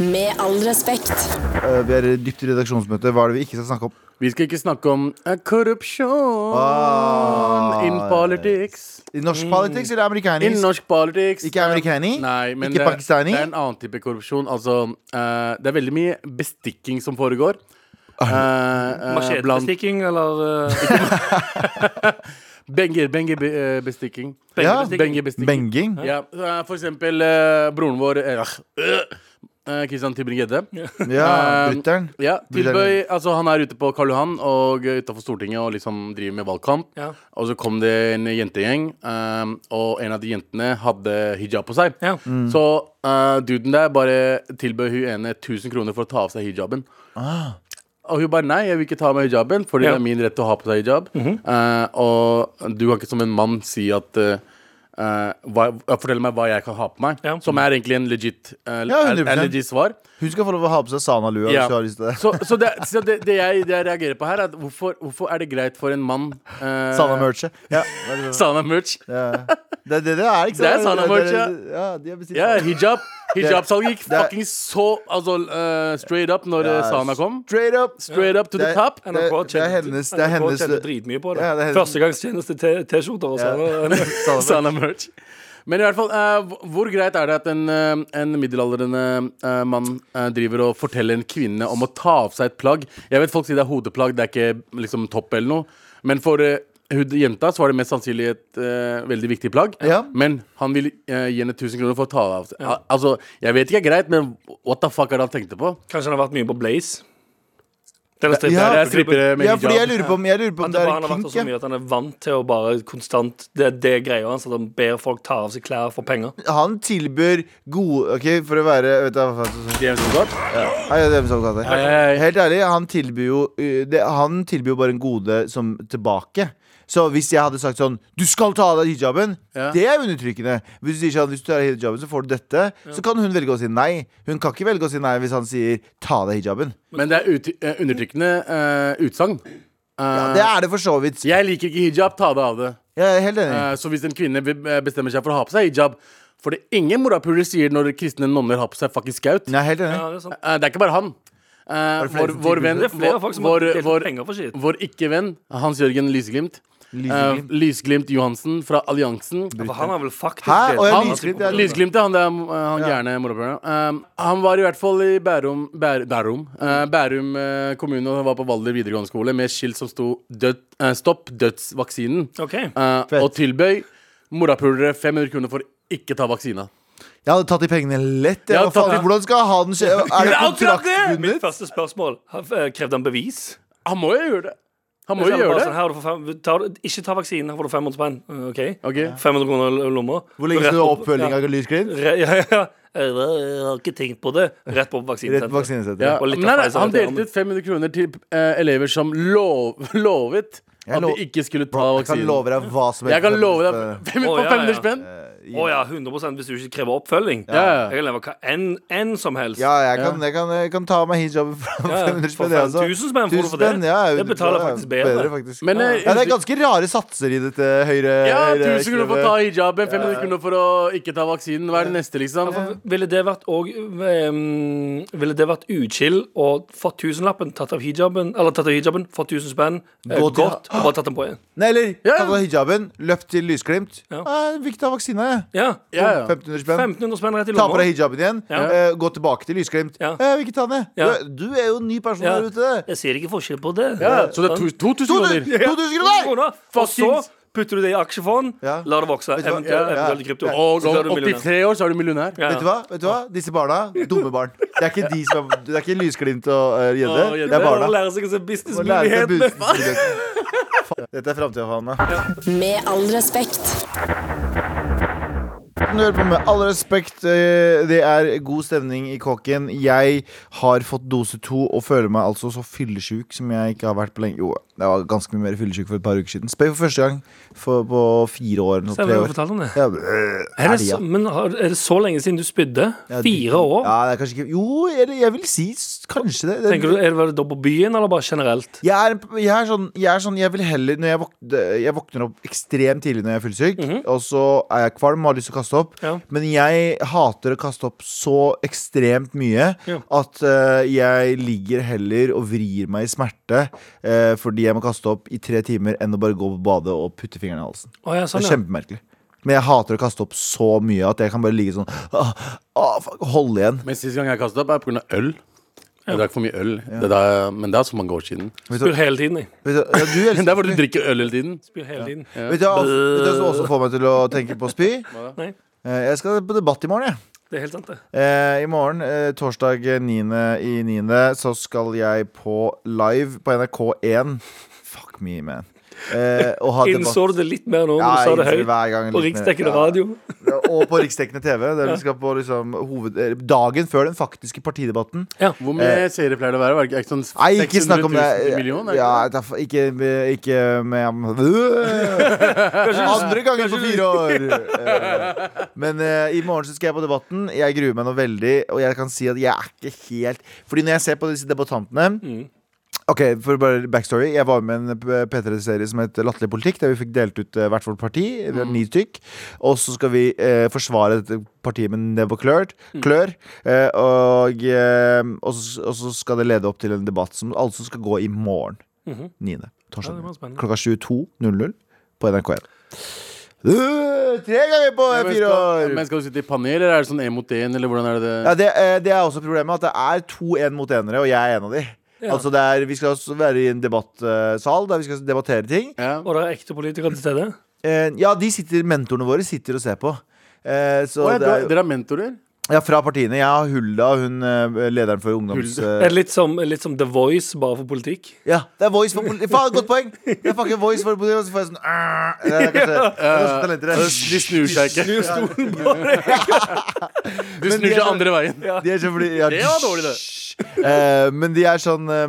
Speaker 1: Med all respekt.
Speaker 3: Eh, Vi er dypt i redaksjonsmøte. Hva er det vi ikke skal snakke om?
Speaker 2: Vi skal ikke snakke om eh, korrupsjon
Speaker 3: Ah.
Speaker 2: in politics.
Speaker 3: I norsk politics eller
Speaker 2: In
Speaker 3: amerikansk?
Speaker 2: Mm. norsk politics.
Speaker 3: Ikke amerikani?
Speaker 2: Nei, men
Speaker 3: Ikke
Speaker 2: det-
Speaker 3: pakistani?
Speaker 2: Det er en annen type korrupsjon. Altså, eh, det er veldig mye bestikking som foregår.
Speaker 3: Ah.
Speaker 2: Eh, eh, blant-
Speaker 4: Machettestikking eller eh,
Speaker 2: Benger, benger be- eh, bestikking.
Speaker 3: Ja,
Speaker 4: pengebestikking.
Speaker 2: Benger bestikking.
Speaker 3: Benging?
Speaker 2: Ja, eh, for eksempel eh, broren vår Kristian Tybring-Gjedde.
Speaker 3: Ja,
Speaker 2: Eh,
Speaker 3: brutter'n.
Speaker 2: Ja,
Speaker 3: Blir det-
Speaker 2: tilbøy, altså Han er ute på Karl Johan og utafor Stortinget og liksom driver med valgkamp.
Speaker 4: Ja.
Speaker 2: Og så kom det en jentegjeng, ehm, og en av de jentene hadde hijab på seg.
Speaker 4: Ja.
Speaker 3: Mm.
Speaker 2: Så eh, duden der bare tilbød hun ene 1000 kroner for å ta av seg hijaben.
Speaker 3: Ah.
Speaker 2: Og hun bare nei, jeg vil ikke ta av meg hijaben, fordi
Speaker 4: Ja.
Speaker 2: det
Speaker 4: Mhm.
Speaker 2: er min rett å ha på seg hijab. Eh, og du kan ikke som en mann si at eh, eh, hva, Fortell meg hva jeg kan ha på meg.
Speaker 4: Ja.
Speaker 2: Som er egentlig en legit, eh,
Speaker 3: Ja,
Speaker 2: er- er
Speaker 3: 100%.
Speaker 2: legit svar.
Speaker 3: Hun skal få lov å ha på seg Sana-lua. hvis
Speaker 2: Ja.
Speaker 3: hun har lyst til det.
Speaker 2: Så, så, det, så det, det, jeg, det jeg reagerer på her, er at hvorfor, hvorfor er det greit for en mann eh,
Speaker 3: Sana-merchet. Ja.
Speaker 2: Sana merch.
Speaker 3: Ja. Det er det det er, ikke sant?
Speaker 2: Det er Sana-merch, ja.
Speaker 3: ja. de har bestilt
Speaker 2: Ja,
Speaker 3: Sana.
Speaker 2: hijab. Hijabsalget gikk
Speaker 3: det er-
Speaker 2: fuckings så altså, eh, straight up når eh,
Speaker 3: Ja,
Speaker 2: Sana kom.
Speaker 3: Straight up.
Speaker 2: Straight up to the
Speaker 3: Det-
Speaker 2: top.
Speaker 4: NRK
Speaker 3: Det- det er
Speaker 4: tjente-
Speaker 3: hennes- det er
Speaker 4: NRK
Speaker 3: hennes-
Speaker 4: tjente dritmye på det.
Speaker 3: Ja, det er hennes-
Speaker 4: Førstegangstjeneste T- T-skjorter og sånn.
Speaker 2: Sana merch. Men i hvert fall, eh, hvor- hvor greit er det at en, eh, en middelaldrende eh, mann eh, driver og forteller en kvinne om å ta av seg et plagg? Jeg vet folk sier det er hodeplagg, det er ikke liksom topp eller noe. Men for eh, hun jenta så var det mest sannsynlig et eh, veldig viktig plagg.
Speaker 3: Ja.
Speaker 2: Men han vil eh, gi henne 1000 kroner for å ta det av seg. Al- Altså, jeg vet ikke det er greit, men what the fuck er det han tenkte på?
Speaker 4: Kanskje han har vært mye på Blaze? Denne strippen-
Speaker 3: Ja,
Speaker 2: Der er strippere med
Speaker 3: Ja, fordi jeg
Speaker 2: hijab.
Speaker 3: lurer på om, jeg lurer på
Speaker 4: At
Speaker 3: om
Speaker 4: det
Speaker 3: det er
Speaker 4: bare han
Speaker 3: en
Speaker 4: har vært
Speaker 2: sånn
Speaker 3: kink.
Speaker 4: så mye
Speaker 3: Ja.
Speaker 4: at han er vant til å bare konstant Det er det greia hans, at han ber folk ta av seg klær for penger.
Speaker 3: Han tilbyr gode OK, for å være vet du, hva faen-
Speaker 2: James Bond.
Speaker 3: Hei, det er Hvem som kaller det.
Speaker 2: hei.
Speaker 3: Helt ærlig, han tilbyr jo uh, det, Han tilbyr jo bare en gode som tilbake. Så hvis jeg hadde sagt sånn Du skal ta av deg hijaben!
Speaker 2: Ja.
Speaker 3: Det er undertrykkende. Hvis du sier sånn, hvis du tar av hijaben, så får du dette. Så kan hun velge å si nei. Hun kan ikke velge å si nei hvis han sier ta av deg hijaben.
Speaker 2: Men det er ut, eh, undertrykkende eh, utsagn. Eh,
Speaker 3: Ja, det er det for så vidt.
Speaker 2: Jeg liker ikke hijab, ta det av det.
Speaker 3: Jeg er helt enig.
Speaker 2: Eh, Så hvis en kvinne vil- eh, bestemmer seg for å ha på seg hijab For det er ingen morapuler sier når kristne nonner har på seg fucking skaut.
Speaker 3: Jeg er helt
Speaker 4: Ja,
Speaker 3: enig.
Speaker 4: det er sant.
Speaker 2: Eh, Det er ikke bare han. Eh,
Speaker 3: det flere
Speaker 2: vår,
Speaker 3: som
Speaker 2: vår
Speaker 3: tilbyr
Speaker 2: venn,
Speaker 4: Det er flere
Speaker 2: vår,
Speaker 4: folk som har
Speaker 2: vår,
Speaker 4: delt
Speaker 2: vår,
Speaker 4: penger for shit.
Speaker 2: vår ikke-venn, Hans Jørgen Lysglimt. Eh,
Speaker 3: Lysglimt.
Speaker 2: Lysglimt Johansen fra Alliansen.
Speaker 4: For han har vel faktisk
Speaker 3: Hæ?
Speaker 4: delt
Speaker 3: Å, ja,
Speaker 4: penger
Speaker 2: Han,
Speaker 4: til-
Speaker 3: Lysglimt, ja.
Speaker 2: Lysglimt, ja. Han, der, eh, han
Speaker 3: Ja.
Speaker 2: gærne morapuleren. Eh, han var i hvert fall i Bærum Bær, Bærum, eh, Bærum eh, kommune og var på Valder videregående skole med skilt som sto død, eh, 'Stopp dødsvaksinen'.
Speaker 4: Ok.
Speaker 2: Eh,
Speaker 3: Fett.
Speaker 2: og tilbøy morapulere 500 kroner for ikke ta vaksina.
Speaker 3: Jeg hadde tatt de pengene lett.
Speaker 2: Jeg
Speaker 3: Jeg.
Speaker 2: hadde
Speaker 3: Hva faen,
Speaker 2: tatt de-
Speaker 3: Hvordan skal jeg ha den skje? Er det
Speaker 4: Mitt
Speaker 3: kontraktbundet?
Speaker 4: første spørsmål har- eh, Krevde han bevis?
Speaker 2: Han må jo gjøre det. Han må
Speaker 4: Så
Speaker 2: jo
Speaker 4: er det
Speaker 2: gjøre
Speaker 4: bare
Speaker 2: det.
Speaker 4: sånn, her har du for fem, tar, du- ikke ta vaksinen, her får du 500 spenn. Eh, OK?
Speaker 2: Ok.
Speaker 4: 500 kroner i lomma.
Speaker 3: Hvor lenge skal du ha oppfølging
Speaker 4: Ja.
Speaker 3: av Lysglimt?
Speaker 4: Re- Ja, ja, ja. Jeg har ikke tenkt på det. Rett på
Speaker 3: Rett på
Speaker 4: vaksinesenteret.
Speaker 2: Ja.
Speaker 3: vaksinesenteret.
Speaker 4: Og litt
Speaker 2: Nei, nei,
Speaker 4: kaffe, så
Speaker 2: han
Speaker 4: vet jeg om-
Speaker 2: delte ut 500 kroner til eh, elever som lov, lovet
Speaker 3: Jeg
Speaker 2: at de
Speaker 3: lov-
Speaker 2: ikke skulle ta
Speaker 3: Bro, Jeg kan
Speaker 2: vaksinen.
Speaker 3: love deg hva som helst. eh,
Speaker 2: Jeg kan love deg Hvem
Speaker 4: Å,
Speaker 2: på
Speaker 4: ja,
Speaker 2: 500
Speaker 4: ja.
Speaker 2: spenn?
Speaker 4: Å ja, 100 hvis du ikke krever oppfølging.
Speaker 2: Ja, ja.
Speaker 4: Jeg kan leve hva enn enn som helst.
Speaker 3: Ja, jeg kan, jeg kan, jeg kan ta meg hijaben for
Speaker 4: Ja, ja.
Speaker 3: 500
Speaker 4: For
Speaker 3: spenn. jeg også.
Speaker 4: 1000 spenn får du for det.
Speaker 3: Tusen spenn, ja,
Speaker 4: Det betaler
Speaker 3: ja,
Speaker 4: faktisk bedre.
Speaker 3: faktisk.
Speaker 2: Men eh,
Speaker 3: ja, det er ganske rare satser i dette høyre
Speaker 2: ja,
Speaker 3: høyre
Speaker 2: 1000 kroner for å
Speaker 3: ekstreme.
Speaker 2: ta hijaben, 500 kroner for å ikke ta vaksinen. Hva er det neste, liksom?
Speaker 4: Ville det vært og, ehm, Ville det vært uchill å fått tusenlappen, tatt av hijaben, eller tatt av hijaben, fått 1000 spenn, eh,
Speaker 3: Gå til-
Speaker 4: gått, og bare tatt den på igjen?
Speaker 3: Nei, eller
Speaker 2: Ja.
Speaker 3: ta på deg hijaben, løp til Lysglimt.
Speaker 4: Ja.
Speaker 3: Nei, jeg vil ikke ta vaksina, jeg.
Speaker 4: Ja.
Speaker 2: Ja, ja.
Speaker 3: 1500 spenn.
Speaker 4: 1500 spenn rett i
Speaker 3: Ta på
Speaker 4: lomma.
Speaker 3: deg hijaben igjen,
Speaker 4: Ja.
Speaker 3: eh, gå tilbake til Lysglimt.
Speaker 4: Ja.
Speaker 3: Eh, Jeg vil ikke ta den, jeg.
Speaker 4: Ja.
Speaker 3: Du, du er jo en ny person
Speaker 4: Ja.
Speaker 3: der ute.
Speaker 4: Jeg ser ikke forskjell på det.
Speaker 2: Ja, så det er to- 2000 kroner.
Speaker 3: 2000 kroner!
Speaker 4: Og så
Speaker 2: Fuckings-
Speaker 4: putter du det i aksjefond,
Speaker 3: Ja.
Speaker 4: lar det vokse,
Speaker 3: Vet du hva?
Speaker 4: eventuelt
Speaker 3: Ja, ja.
Speaker 4: eventuelt i krypto.
Speaker 3: Ja.
Speaker 2: Og
Speaker 4: Så blir
Speaker 2: om
Speaker 4: du millionær.
Speaker 2: 83 år så er du millionær.
Speaker 4: Ja.
Speaker 3: Vet du hva? Vet du hva? Disse barna, dumme barn. Det er ikke de som er, det er ikke Lysglimt og eh, Gjedde.
Speaker 2: Og Gjedde.
Speaker 3: det er
Speaker 4: Å
Speaker 3: barna.
Speaker 4: lære seg å se
Speaker 3: Å lære seg
Speaker 4: businessmulighetene.
Speaker 3: businessmulighetene. Faen, Dette er framtida, faen meg.
Speaker 1: Med all respekt.
Speaker 3: Du hører på med all respekt. eh, Det er god stemning i kåken. Jeg har fått dose to og føler meg altså så fyllesjuk som jeg ikke har vært på lenge. Jo, jeg var ganske mye mer fyllesjuk for et par uker siden. Spøy for første gang for, på fire år. eller noe,
Speaker 4: Stemmer,
Speaker 3: tre
Speaker 4: du
Speaker 3: år.
Speaker 4: fortalte om det.
Speaker 3: Ja, øh,
Speaker 4: Er det,
Speaker 3: elga.
Speaker 4: så, men har, er det så lenge siden du spydde?
Speaker 3: Ja, det-
Speaker 4: Fire år?
Speaker 3: Ja, det er kanskje ikke Jo, eller jeg vil si s- kanskje det. det
Speaker 4: Tenker du, er det, Var det da på byen, eller bare generelt?
Speaker 3: jeg er, jeg er sånn Jeg er sånn, jeg vil heller når jeg, våkner, jeg våkner opp ekstremt tidlig når jeg er fullsyk, og så er jeg kvalm og har lyst til å kaste opp.
Speaker 4: Mhm. Ja.
Speaker 3: Men jeg hater å kaste opp så ekstremt mye
Speaker 4: Ja.
Speaker 3: at eh, jeg ligger heller og vrir meg i smerte eh, fordi jeg må kaste opp i tre timer enn å bare gå på badet og putte fingrene i halsen.
Speaker 4: Å, ja, sånn,
Speaker 3: Det
Speaker 4: ja.
Speaker 3: er kjempemerkelig. Men jeg hater å kaste opp så mye at jeg kan bare ligge sånn ah, ah, fuck, Holde igjen.
Speaker 2: Men sist gang jeg kastet opp, er på grunn av øl. Jeg drakk for mye øl, det er da- men det er så mange år siden.
Speaker 4: Spyr hele tiden, jeg.
Speaker 3: Vet du, ja, du elsker
Speaker 2: Det er hvor du drikker øl hele tiden.
Speaker 4: Spyr hele tiden.
Speaker 3: Vet du hva vet du hva som også får meg til å tenke på å spy?
Speaker 4: Nei,
Speaker 3: Eh, Jeg skal på debatt i morgen, jeg.
Speaker 4: det er helt sant, det.
Speaker 3: Eh, I morgen, eh, torsdag 9. i 9., så skal jeg på live på NRK1. Fuck me, man. Eh, og ha debatt.
Speaker 4: Innså du det litt mer nå
Speaker 3: Ja,
Speaker 4: når du sa det
Speaker 3: jeg innser
Speaker 4: høyt?
Speaker 3: hver gang
Speaker 4: På
Speaker 3: litt mer.
Speaker 4: riksdekkende
Speaker 3: Ja.
Speaker 4: radio?
Speaker 3: Ja, og på riksdekkende TV. Der vi skal på liksom, hoved, eh, dagen før den faktiske partidebatten.
Speaker 2: Hvor mye seere pleier det å være? Var det ikke sånn
Speaker 3: Eh. Nei, ikke snakk
Speaker 2: 600
Speaker 3: om det.
Speaker 2: 000 millioner? er det
Speaker 3: Ja,
Speaker 2: ikke det?
Speaker 3: det er fa- ikke, ikke med Andre gangen på fire år! Eh, Men eh, i morgen så skal jeg på Debatten. Jeg gruer meg nå veldig. Og jeg kan si at jeg er ikke helt Fordi når jeg ser på disse debattantene
Speaker 4: Mm.
Speaker 3: Ok, for bare backstory Jeg var med i en P- P3-serie som het Latterlig politikk, der vi fikk delt ut eh, hvert vårt parti. Vi
Speaker 4: Mm.
Speaker 3: har ni stykk. Og så skal vi eh, forsvare dette partiet med nebb og klør.
Speaker 4: Mm.
Speaker 3: klør eh, og, eh, og, så, og så skal det lede opp til en debatt som altså skal gå i morgen.
Speaker 4: Mhm.
Speaker 3: 9.
Speaker 4: Ja,
Speaker 3: Torsdag.
Speaker 4: det var spennende.
Speaker 3: klokka 22.00 på NRK1. Øh, tre ganger på
Speaker 2: Ja, men
Speaker 3: fire
Speaker 2: skal-
Speaker 3: år!
Speaker 2: Men skal du sitte i panel, eller er det sånn én mot én, eller hvordan er det
Speaker 3: Ja,
Speaker 2: det?
Speaker 3: det, eh, det er også problemet, at det er to en mot enere, og jeg er en av de. Altså det er, Vi skal også være i en debattsal eh, der vi skal debattere ting.
Speaker 2: Ja.
Speaker 4: Og det er ekte politikere til stede?
Speaker 3: Eh, ja, de sitter, mentorene våre sitter og ser på. Eh, så
Speaker 2: Å, ja,
Speaker 3: det
Speaker 2: dere-
Speaker 3: er,
Speaker 2: dere er mentorer?
Speaker 3: ja, fra partiene. Jeg har Hulda, hun eh, lederen for ungdoms...
Speaker 4: Er
Speaker 3: Eh,
Speaker 4: det litt som, litt som The Voice, bare for politikk?
Speaker 3: ja, det er Voice for politi... Faen, godt poeng! Det er fucking Voice for politi, og så får jeg sånn "Arr." Det er kanskje, det er kanskje talenter,
Speaker 2: De
Speaker 3: det.
Speaker 2: snur seg ikke.
Speaker 4: Snur stolen på deg!
Speaker 2: De snur
Speaker 3: de er
Speaker 2: seg
Speaker 3: så-
Speaker 2: andre veien.
Speaker 3: De er så fordi, ja,
Speaker 2: Det var dårlig, det.
Speaker 3: Eh, men de er sånn eh,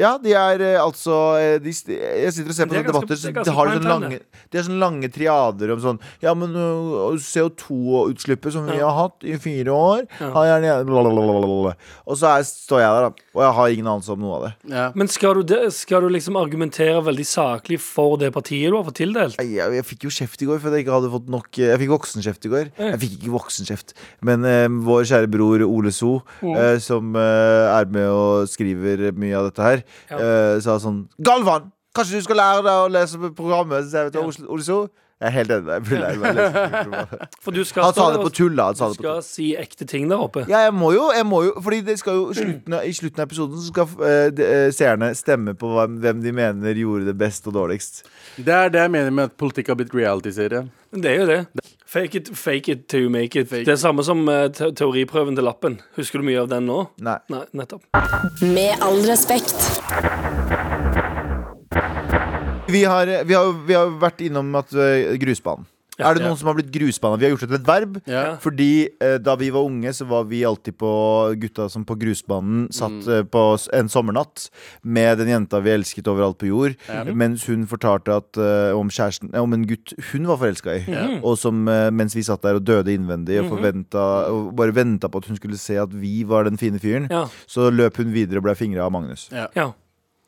Speaker 3: Ja, de er eh, altså eh, de, st- Jeg sitter og ser
Speaker 4: Men det er
Speaker 3: på sånne
Speaker 4: ganske- det
Speaker 3: debatter. Så
Speaker 4: er
Speaker 3: de,
Speaker 4: ganske
Speaker 3: har sånne
Speaker 4: primetime,
Speaker 3: lange, de har sånne lange triader om sånn Ja, men CO2-utslippet som vi har hatt i fi- 24 år. Har gjerne blablabla. Og så er, står jeg der, da. Og jeg har ingen anelse om noe av det.
Speaker 2: Ja.
Speaker 4: Men skal du, det- skal du liksom argumentere veldig saklig for det partiet du har fått tildelt?
Speaker 3: Nei, Jeg, jeg fikk jo kjeft i går fordi jeg ikke hadde fått nok eh, Jeg fikk voksenkjeft i går. Jeg fikk ikke voksenkjeft, men eh, vår kjære bror Ole So, eh, som eh, er med og skriver mye av dette her, eh, sa sånn Galvan! Kanskje du skal lære deg å lese programmet? Så jeg vet, Ole- Ole So jeg er helt enig. med deg. Jeg burde lære meg å lese programmet.
Speaker 4: For du skal
Speaker 3: Han sa
Speaker 4: stå
Speaker 3: det
Speaker 4: der
Speaker 3: på
Speaker 4: og-
Speaker 3: tull, da. Han sa
Speaker 4: Du
Speaker 3: det på tull.
Speaker 4: skal si ekte ting der oppe.
Speaker 3: Ja, jeg må jo, jeg må jo Fordi det skal jo slutten, av- i slutten av episoden Så skal eh, de- eh, seerne stemme på hvem, hvem de mener gjorde det best og dårligst
Speaker 2: Det er det jeg mener med at politikk har blitt reality-serie.
Speaker 4: Men Det er jo det. Fake it, fake it till you make it. Det er samme som eh, te teoriprøven til lappen. Husker du mye av den nå?
Speaker 3: Nei
Speaker 4: Nei, nettopp.
Speaker 6: Med all respekt.
Speaker 3: Vi har, vi har, vi har vært innom at eh, grusbanen.
Speaker 4: Ja.
Speaker 3: er det noen som har blitt grusbana? Vi har gjort det til et verb.
Speaker 2: Ja.
Speaker 3: Fordi eh, da vi var unge, så var vi alltid på gutta som på grusbanen satt
Speaker 4: Mm.
Speaker 3: eh, på s- en sommernatt med den jenta vi elsket overalt på jord, Mhm. mens hun fortalte at, eh, om, kjæresten, eh, om en gutt hun var forelska i, og som eh, mens vi satt der og døde innvendig
Speaker 4: Mhm.
Speaker 3: og, forventa, og bare venta på at hun skulle se at vi var den fine fyren,
Speaker 4: Ja.
Speaker 3: så løp hun videre og ble fingra av Magnus.
Speaker 4: Ja.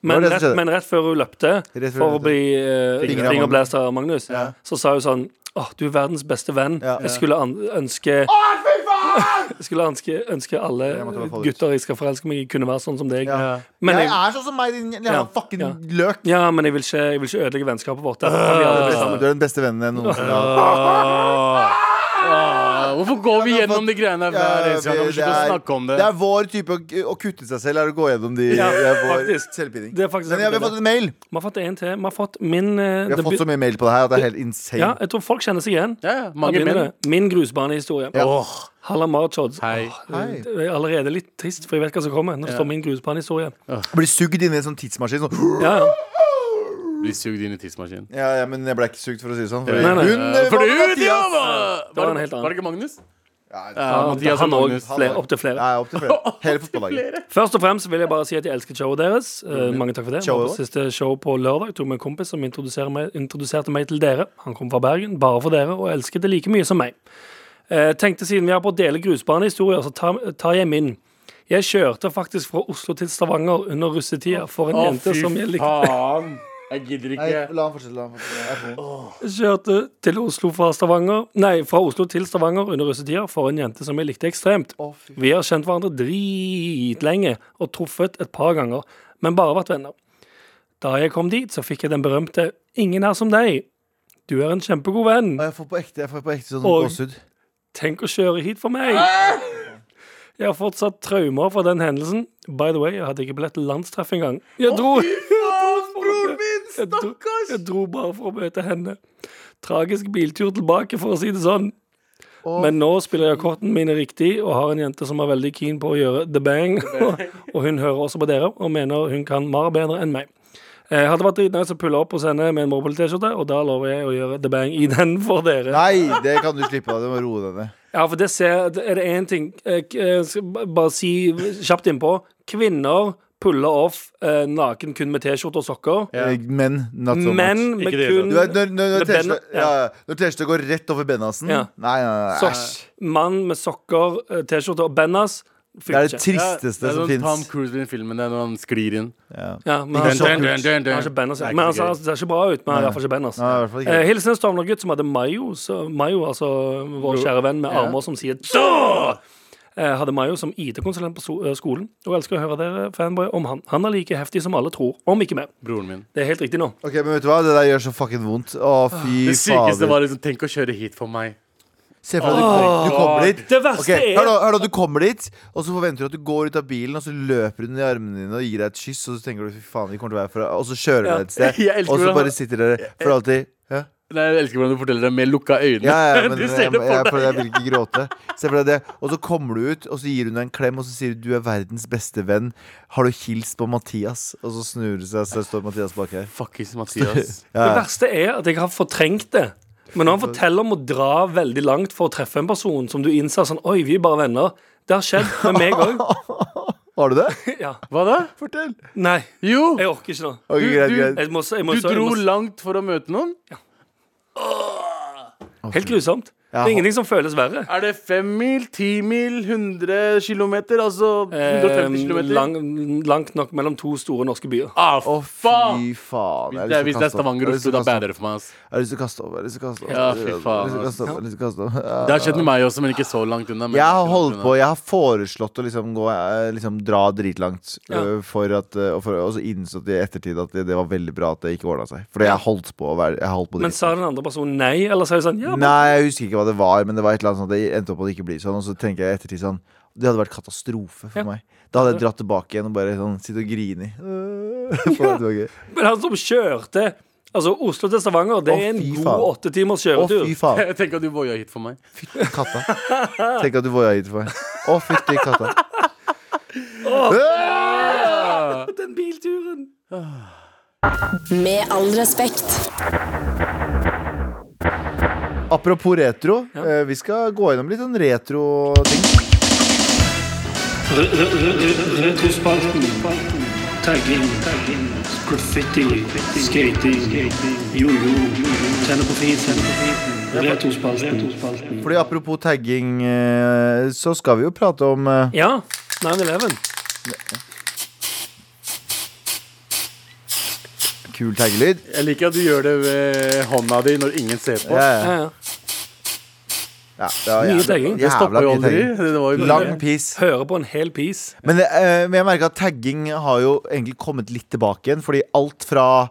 Speaker 4: Men
Speaker 3: det som
Speaker 4: rett,
Speaker 3: skjedde.
Speaker 4: men rett før hun løpte
Speaker 3: Rett før hun
Speaker 4: for å
Speaker 3: løpte.
Speaker 4: bli eh,
Speaker 3: Fingret av
Speaker 4: fingerblæst av Magnus, så sa hun sånn Åh, du er verdens beste venn.
Speaker 3: Ja.
Speaker 4: Jeg skulle an ønske Jeg skulle ønske, ønske alle
Speaker 3: Jeg måtte bare få det ut.
Speaker 4: gutter jeg skal forelske meg i, kunne være sånn som deg.
Speaker 3: Ja.
Speaker 4: Men
Speaker 3: jeg
Speaker 4: jeg,
Speaker 3: er sånn som meg, din
Speaker 4: Ja.
Speaker 3: jævla fucking
Speaker 4: Ja.
Speaker 3: løk.
Speaker 4: ja, men jeg vil ikke, jeg vil ikke ødelegge vennskapet vårt. Da kan vi aldri bli sammen.
Speaker 3: Du er den beste vennen jeg noensinne har hatt.
Speaker 2: Ja, Ah, hvorfor går vi gjennom de greiene her hver eneste gang? Kan vi
Speaker 3: det,
Speaker 2: slutte å snakke om det?
Speaker 3: det er vår type å, å kutte seg selv er å gå gjennom de
Speaker 4: Ja,
Speaker 3: det er vår
Speaker 4: faktisk.
Speaker 3: selvpining.
Speaker 4: Det er faktisk
Speaker 3: Men ja, vi har fått en mail.
Speaker 4: Vi har fått en til. Vi har fått min eh,
Speaker 3: Vi har
Speaker 4: det
Speaker 3: fått
Speaker 4: be-
Speaker 3: så mye mail på det her at det er helt insane.
Speaker 4: Ja, jeg tror folk kjenner seg igjen.
Speaker 2: Ja, ja,
Speaker 4: Da
Speaker 2: mange
Speaker 4: begynner
Speaker 2: menn.
Speaker 4: det. Min grusbanehistorie.
Speaker 3: Ja.
Speaker 2: Åh,
Speaker 4: Halla Marchod.
Speaker 2: Hei.
Speaker 3: Hei.
Speaker 4: Det er allerede litt trist, for jeg vet hva som kommer. Når det står min grusbanehistorie.
Speaker 3: Blir sugd inn i en sånn tidsmaskin. Sånn.
Speaker 4: Ja, ja.
Speaker 2: Blir sugd inn i tidsmaskinen.
Speaker 3: Ja, ja, men jeg ble ikke sugd, for å si det sånn.
Speaker 4: Nei, nei.
Speaker 3: Hun eh,
Speaker 2: For
Speaker 3: var
Speaker 2: du,
Speaker 3: med
Speaker 2: ja,
Speaker 3: Mathias.
Speaker 2: var,
Speaker 4: var
Speaker 2: var,
Speaker 4: en helt annen.
Speaker 2: var det ikke Magnus?
Speaker 3: Ja,
Speaker 2: Ja,
Speaker 4: Ja,
Speaker 2: Mathias og
Speaker 4: han òg.
Speaker 2: Magnus.
Speaker 4: Opptil flere.
Speaker 3: Nei, opp til flere. Hele fotballaget.
Speaker 2: Flere.
Speaker 4: Først og fremst vil jeg bare si at jeg elsker showet deres. Eh,
Speaker 2: Mm-hmm.
Speaker 4: mange takk for det.
Speaker 3: Showet
Speaker 4: Showet. Siste show på lørdag tok med en kompis som introduserer meg, introduserte meg til dere. Han kom fra Bergen, bare for dere, og elsket det like mye som meg. Eh, tenkte siden vi er på å dele grusbanehistorier, så tar, tar jeg min. Jeg kjørte faktisk fra Oslo til Stavanger under russetida for en
Speaker 2: Å,
Speaker 4: jente
Speaker 2: fy
Speaker 4: som jeg likte.
Speaker 2: faen. Jeg gidder
Speaker 3: Nei,
Speaker 2: ikke.
Speaker 3: la han fortsette. La han fortsette.
Speaker 4: Kjørte eh, til Oslo fra Stavanger Nei, fra Oslo til Stavanger under russetida for en jente som jeg likte ekstremt. Vi har kjent hverandre dritlenge og truffet et par ganger, men bare vært venner. Da jeg kom dit, så fikk jeg den berømte 'Ingen er som deg'. Du er en kjempegod venn.
Speaker 3: Og jeg får på ekte, jeg får på ekte sånn
Speaker 4: Og-
Speaker 3: gåsehud.
Speaker 4: Tenk å kjøre hit for meg. Jeg har fortsatt traumer fra den hendelsen. By the way, jeg hadde ikke billett til landstreff engang. Jeg dro jeg dro, jeg dro bare for å møte henne. Tragisk biltur tilbake, for å si det sånn. Men nå spiller jeg kortene mine riktig og har en jente som er veldig keen på å gjøre the bang. og hun hører også på dere og mener hun kan mer bedre enn meg. Jeg hadde vært dritnice å pulle opp hos henne med en Mobile-T-skjorte, og da lover jeg å gjøre the bang i den for dere.
Speaker 3: Nei, det kan du slippe av. Du må roe deg ned.
Speaker 4: Ja, for det ser det- Er det én ting eh, k- eh, skal b- Bare si kjapt innpå. Kvinner puller off eh, naken kun med T-skjorte og sokker.
Speaker 3: Eh, Men not so much.
Speaker 4: Menn med
Speaker 2: Ikke det hele
Speaker 4: kun
Speaker 3: Du vet, når når, når
Speaker 4: Med bena-
Speaker 3: T-skjorta ja. ja, når T-skjorta går rett over Bennasen
Speaker 4: Ja.
Speaker 3: Nei, nei, nei.
Speaker 4: så,
Speaker 3: æsj.
Speaker 4: Mann med sokker, eh, T-skjorte og Bennas.
Speaker 3: Det er det
Speaker 4: Funker ikke.
Speaker 2: Ja,
Speaker 3: tristeste
Speaker 2: det er
Speaker 3: som
Speaker 2: sånn Tom
Speaker 3: fins.
Speaker 2: Cruise i den filmen der når han sklir inn.
Speaker 4: Ja, men han
Speaker 3: Ikke
Speaker 4: har ikke-
Speaker 3: sant? dun,
Speaker 4: han har ikke Bennas.
Speaker 2: Det er
Speaker 4: Men han
Speaker 2: ikke
Speaker 4: sa
Speaker 2: gøy.
Speaker 4: altså, det ser ikke bra ut, men han har iallfall ikke Bennas.
Speaker 3: Nei, i hvert fall ikke.
Speaker 4: Eh, Hilsen en Stovner-gutt som hadde Mayo, så, Mayo altså vår kjære venn med armer som sier «Da!» Eh, Hadde Mayo som IT-konsulent på so- eh, skolen, og elsker å høre dere fanboy om han. Han er like heftig som alle tror, om ikke mer.
Speaker 2: Broren min.
Speaker 4: Det er helt riktig nå.
Speaker 3: Ok, men vet du hva? Det der gjør så fucking vondt. Å, fy
Speaker 2: Det sykeste
Speaker 3: fader.
Speaker 2: var liksom Tenk å kjøre hit for meg.
Speaker 3: Se for deg at du, kom, du kommer dit.
Speaker 4: Det verste
Speaker 3: Ok,
Speaker 4: er-
Speaker 3: hør, da, hør da, Du kommer dit, og så forventer du at du går ut av bilen, og så løper hun i armene dine og gir deg et kyss, og så tenker du fy faen, vi kommer til å være fra Og så kjører du deg et
Speaker 2: Jeg
Speaker 3: sted,
Speaker 2: elsker
Speaker 3: og så
Speaker 2: hvordan-
Speaker 3: bare sitter dere for alltid. Ja,
Speaker 2: Nei, jeg elsker hvordan du forteller det med lukka øyne.
Speaker 3: ja, ja men jeg,
Speaker 2: du
Speaker 3: jeg,
Speaker 2: ser det
Speaker 3: jeg,
Speaker 2: for deg.
Speaker 3: jeg vil ikke gråte. Se for deg det. Og så kommer du ut, og så gir hun deg en klem, og så sier du du er verdens beste venn. Har du hilst på Mathias? Og så snur du seg, så står Mathias bak her.
Speaker 2: Fuckings Mathias.
Speaker 3: Ja.
Speaker 4: Det verste er at jeg har fortrengt det. Men når han forteller om å dra veldig langt for å treffe en person som du innser sånn Oi, vi er bare venner. Det har skjedd med meg òg.
Speaker 3: Har du det?
Speaker 4: Ja.
Speaker 2: Hva da?
Speaker 3: Fortell.
Speaker 4: Nei,
Speaker 2: Jo,
Speaker 4: jeg orker ikke nå.
Speaker 3: Ok,
Speaker 2: Du-
Speaker 3: greit,
Speaker 2: du-
Speaker 3: greit.
Speaker 4: Jeg må, jeg må,
Speaker 2: du
Speaker 4: jeg
Speaker 2: dro
Speaker 4: må,
Speaker 2: langt for å møte noen.
Speaker 4: helt grusomt. Det er ingenting som føles verre.
Speaker 2: Er det fem mil, ti mil, 100 kilometer? Altså 150
Speaker 4: Eh,
Speaker 2: kilometer?
Speaker 4: lang, langt nok mellom to store norske byer.
Speaker 2: Ah,
Speaker 3: Å,
Speaker 2: faen!
Speaker 3: fy faen.
Speaker 2: Det er, hvis det er Stavanger,
Speaker 3: og
Speaker 2: Oslo, da bærer det for meg. ass.
Speaker 3: Jeg har lyst til å kaste over. Jeg har lyst til å kaste over.
Speaker 2: Ja, fy
Speaker 3: Jeg
Speaker 2: faen,
Speaker 3: har lyst til å kaste over, jeg har lyst til å kaste over.
Speaker 2: Det har skjedd med meg også, men ikke så langt unna. men
Speaker 3: Jeg har
Speaker 2: ganske
Speaker 3: holdt
Speaker 2: langt
Speaker 3: på,
Speaker 2: unna.
Speaker 3: jeg har foreslått å liksom, gå, eh, liksom dra dritlangt.
Speaker 4: Ja.
Speaker 3: øh, For at, øh, og, for, og så innså jeg i ettertid at det, det var veldig bra at det ikke ordna seg. Fordi jeg holdt på å være jeg holdt på
Speaker 4: Men
Speaker 3: dritlangt.
Speaker 4: sa den andre personen nei, eller sa de sånn ja, men
Speaker 3: Nei, jeg husker ikke hva det var, men det var et eller annet sånn at det endte opp med å ikke bli sånn. Og så tenker jeg i ettertid sånn Det hadde vært katastrofe for
Speaker 4: Ja.
Speaker 3: meg. Da hadde jeg dratt tilbake igjen og bare sånn sitte og grine i. For at det var gøy.
Speaker 4: Men han som kjørte Altså, Oslo til Stavanger, det
Speaker 3: Å,
Speaker 4: er en
Speaker 3: fy
Speaker 4: god
Speaker 3: faen.
Speaker 4: åtte timers
Speaker 3: Å,
Speaker 4: kjøretur.
Speaker 3: fy faen.
Speaker 2: Jeg tenker at du voia hit for meg.
Speaker 3: Katta. Tenk at du voia hit for meg. Å, fytti katta. Øh!
Speaker 4: Den bilturen.
Speaker 6: Med all respekt.
Speaker 3: Apropos retro, eh, vi skal gå gjennom litt sånn retro-ting.
Speaker 7: Retrospalten. Tagging. Graffiti. Skating. Jojo. Tenne på fisen. Retrospalten.
Speaker 3: Fordi apropos tagging, eh, så skal vi jo prate om eh,
Speaker 4: Ja. 9-11.
Speaker 3: kul taggelyd.
Speaker 2: Jeg liker at du gjør det ved hånda di når ingen ser på.
Speaker 3: Ja,
Speaker 4: Ja,
Speaker 3: ja.
Speaker 4: ja.
Speaker 3: Ja, det var
Speaker 4: Mye
Speaker 3: jævla-
Speaker 4: tagging. Det
Speaker 2: Det
Speaker 3: Jævla
Speaker 2: stoppa jo
Speaker 3: mye
Speaker 2: aldri.
Speaker 3: tagging.
Speaker 2: Det var jo
Speaker 3: Lang piss.
Speaker 4: Hører på en hel piece.
Speaker 3: Men, det, eh, men jeg merker at tagging har jo egentlig kommet litt tilbake igjen, fordi alt fra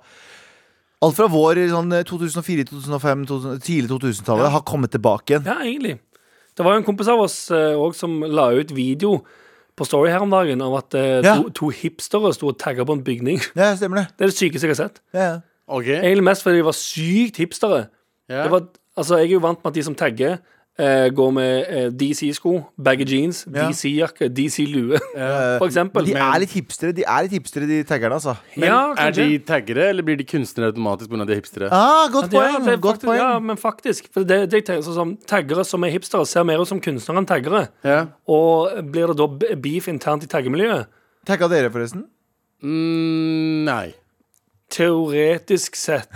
Speaker 3: Alt fra vår i sånn eh, 2004, 2005, 2000, tidlig 2000-tallet har kommet tilbake igjen.
Speaker 4: Ja, egentlig. Det var jo en kompis av oss eh, også som la ut video på Story her om dagen av at eh,
Speaker 3: Ja.
Speaker 4: to, to hipstere sto og tagga på en bygning.
Speaker 3: Ja, stemmer det.
Speaker 4: Det er det sykeste jeg har sett.
Speaker 3: Ja, ja.
Speaker 2: OK.
Speaker 4: Egentlig mest fordi de var sykt hipstere.
Speaker 2: Ja.
Speaker 4: Det var, altså, jeg er jo vant med at de som tagger, eh, går med eh, DC-sko, baggy jeans,
Speaker 3: Ja.
Speaker 4: DC-jakke, DC-lue, for eksempel.
Speaker 3: De er litt hipstere, de er litt hipstere, de taggerne, altså.
Speaker 4: Men ja,
Speaker 2: Er de
Speaker 4: kanskje.
Speaker 2: taggere, eller blir de kunstnere automatisk pga. de er hipstere?
Speaker 3: Ah, godt
Speaker 4: Ja,
Speaker 3: poeng!
Speaker 4: det er
Speaker 3: godt
Speaker 4: faktisk,
Speaker 3: poeng.
Speaker 4: ja, men faktisk. For det, det jeg tenker sånn, som Taggere som er hipstere, ser mer ut som kunstnere enn taggere.
Speaker 2: Ja.
Speaker 4: Og blir det da b- beef internt i taggemiljøet?
Speaker 3: Tagga dere, forresten?
Speaker 2: Mm, nei.
Speaker 4: Teoretisk sett.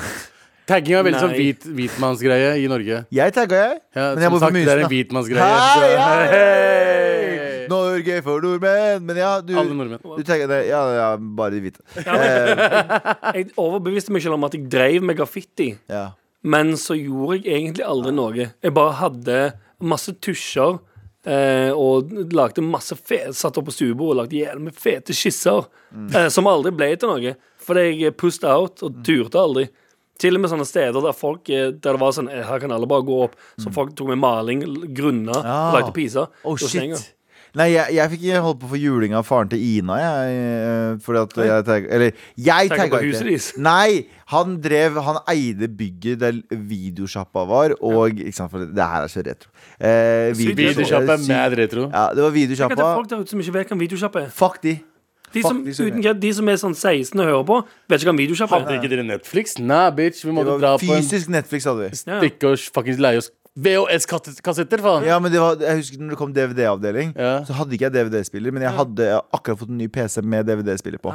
Speaker 2: Tagging er veldig
Speaker 4: Nei.
Speaker 2: sånn hvit, hvitmannsgreie i Norge.
Speaker 3: Jeg tagga, jeg.
Speaker 2: Ja,
Speaker 3: Men jeg
Speaker 2: som
Speaker 3: bor på
Speaker 2: sagt, det er en
Speaker 3: Mysen. da.
Speaker 2: hvitmannsgreie.
Speaker 3: Hei, hei,
Speaker 2: Hei!
Speaker 3: Norge for nordmenn! Men ja, du,
Speaker 2: Alle nordmenn.
Speaker 3: du tagga det. Ja, ja, bare de hvite.
Speaker 4: Jeg overbeviste meg selv om at jeg drev med graffiti,
Speaker 3: Ja.
Speaker 4: men så gjorde jeg egentlig aldri noe. Jeg bare hadde masse tusjer eh, og lagde masse fe satt opp på stuebordet og lagde jævlig med fete skisser eh, som aldri ble til noe. Fordi jeg pushed out og turte aldri. Til og med sånne steder der folk eh, Der det var sånn eh, Her kan alle bare gå opp. Så folk tok med maling, l- grunna
Speaker 3: Ja.
Speaker 4: og lagde piser.
Speaker 3: Oh,
Speaker 4: Det var
Speaker 3: shit.
Speaker 4: stenger.
Speaker 3: Nei, jeg, jeg fikk ikke holdt på for juling av faren til Ina, jeg. eh, Fordi at jeg tagga Eller, jeg
Speaker 4: Tagga
Speaker 3: tagga
Speaker 4: på huset deres.
Speaker 3: ikke. Nei! Han drev Han eide bygget der videosjappa var, og ikke sant, for det her er så retro. Eh,
Speaker 2: Videosjappe
Speaker 3: eh, sy-
Speaker 2: mad retro.
Speaker 3: Ja, det
Speaker 4: Tenk
Speaker 3: var
Speaker 4: at det
Speaker 3: videosjappa.
Speaker 4: er folk der ute som ikke vet hva en videosjappe er.
Speaker 3: Fuck de.
Speaker 4: De som,
Speaker 3: Faktisk,
Speaker 4: uten, kødd, de som er sånn 16 og hører på, vet ikke hva en videosjappe
Speaker 2: Hadde
Speaker 4: er.
Speaker 2: ikke dere Netflix? Nei, bitch. Vi måtte
Speaker 3: Det
Speaker 2: dra
Speaker 3: var
Speaker 2: på en
Speaker 3: fysisk Netflix, hadde vi.
Speaker 4: Ja.
Speaker 2: stikke og fuckings leie oss VHS-kassetter, faen.
Speaker 3: Ja, men det var, jeg husker når det kom DVD-avdeling,
Speaker 2: Ja.
Speaker 3: så hadde ikke jeg DVD-spiller, men jeg hadde akkurat fått en ny PC med DVD-spiller
Speaker 2: Ah.
Speaker 3: på.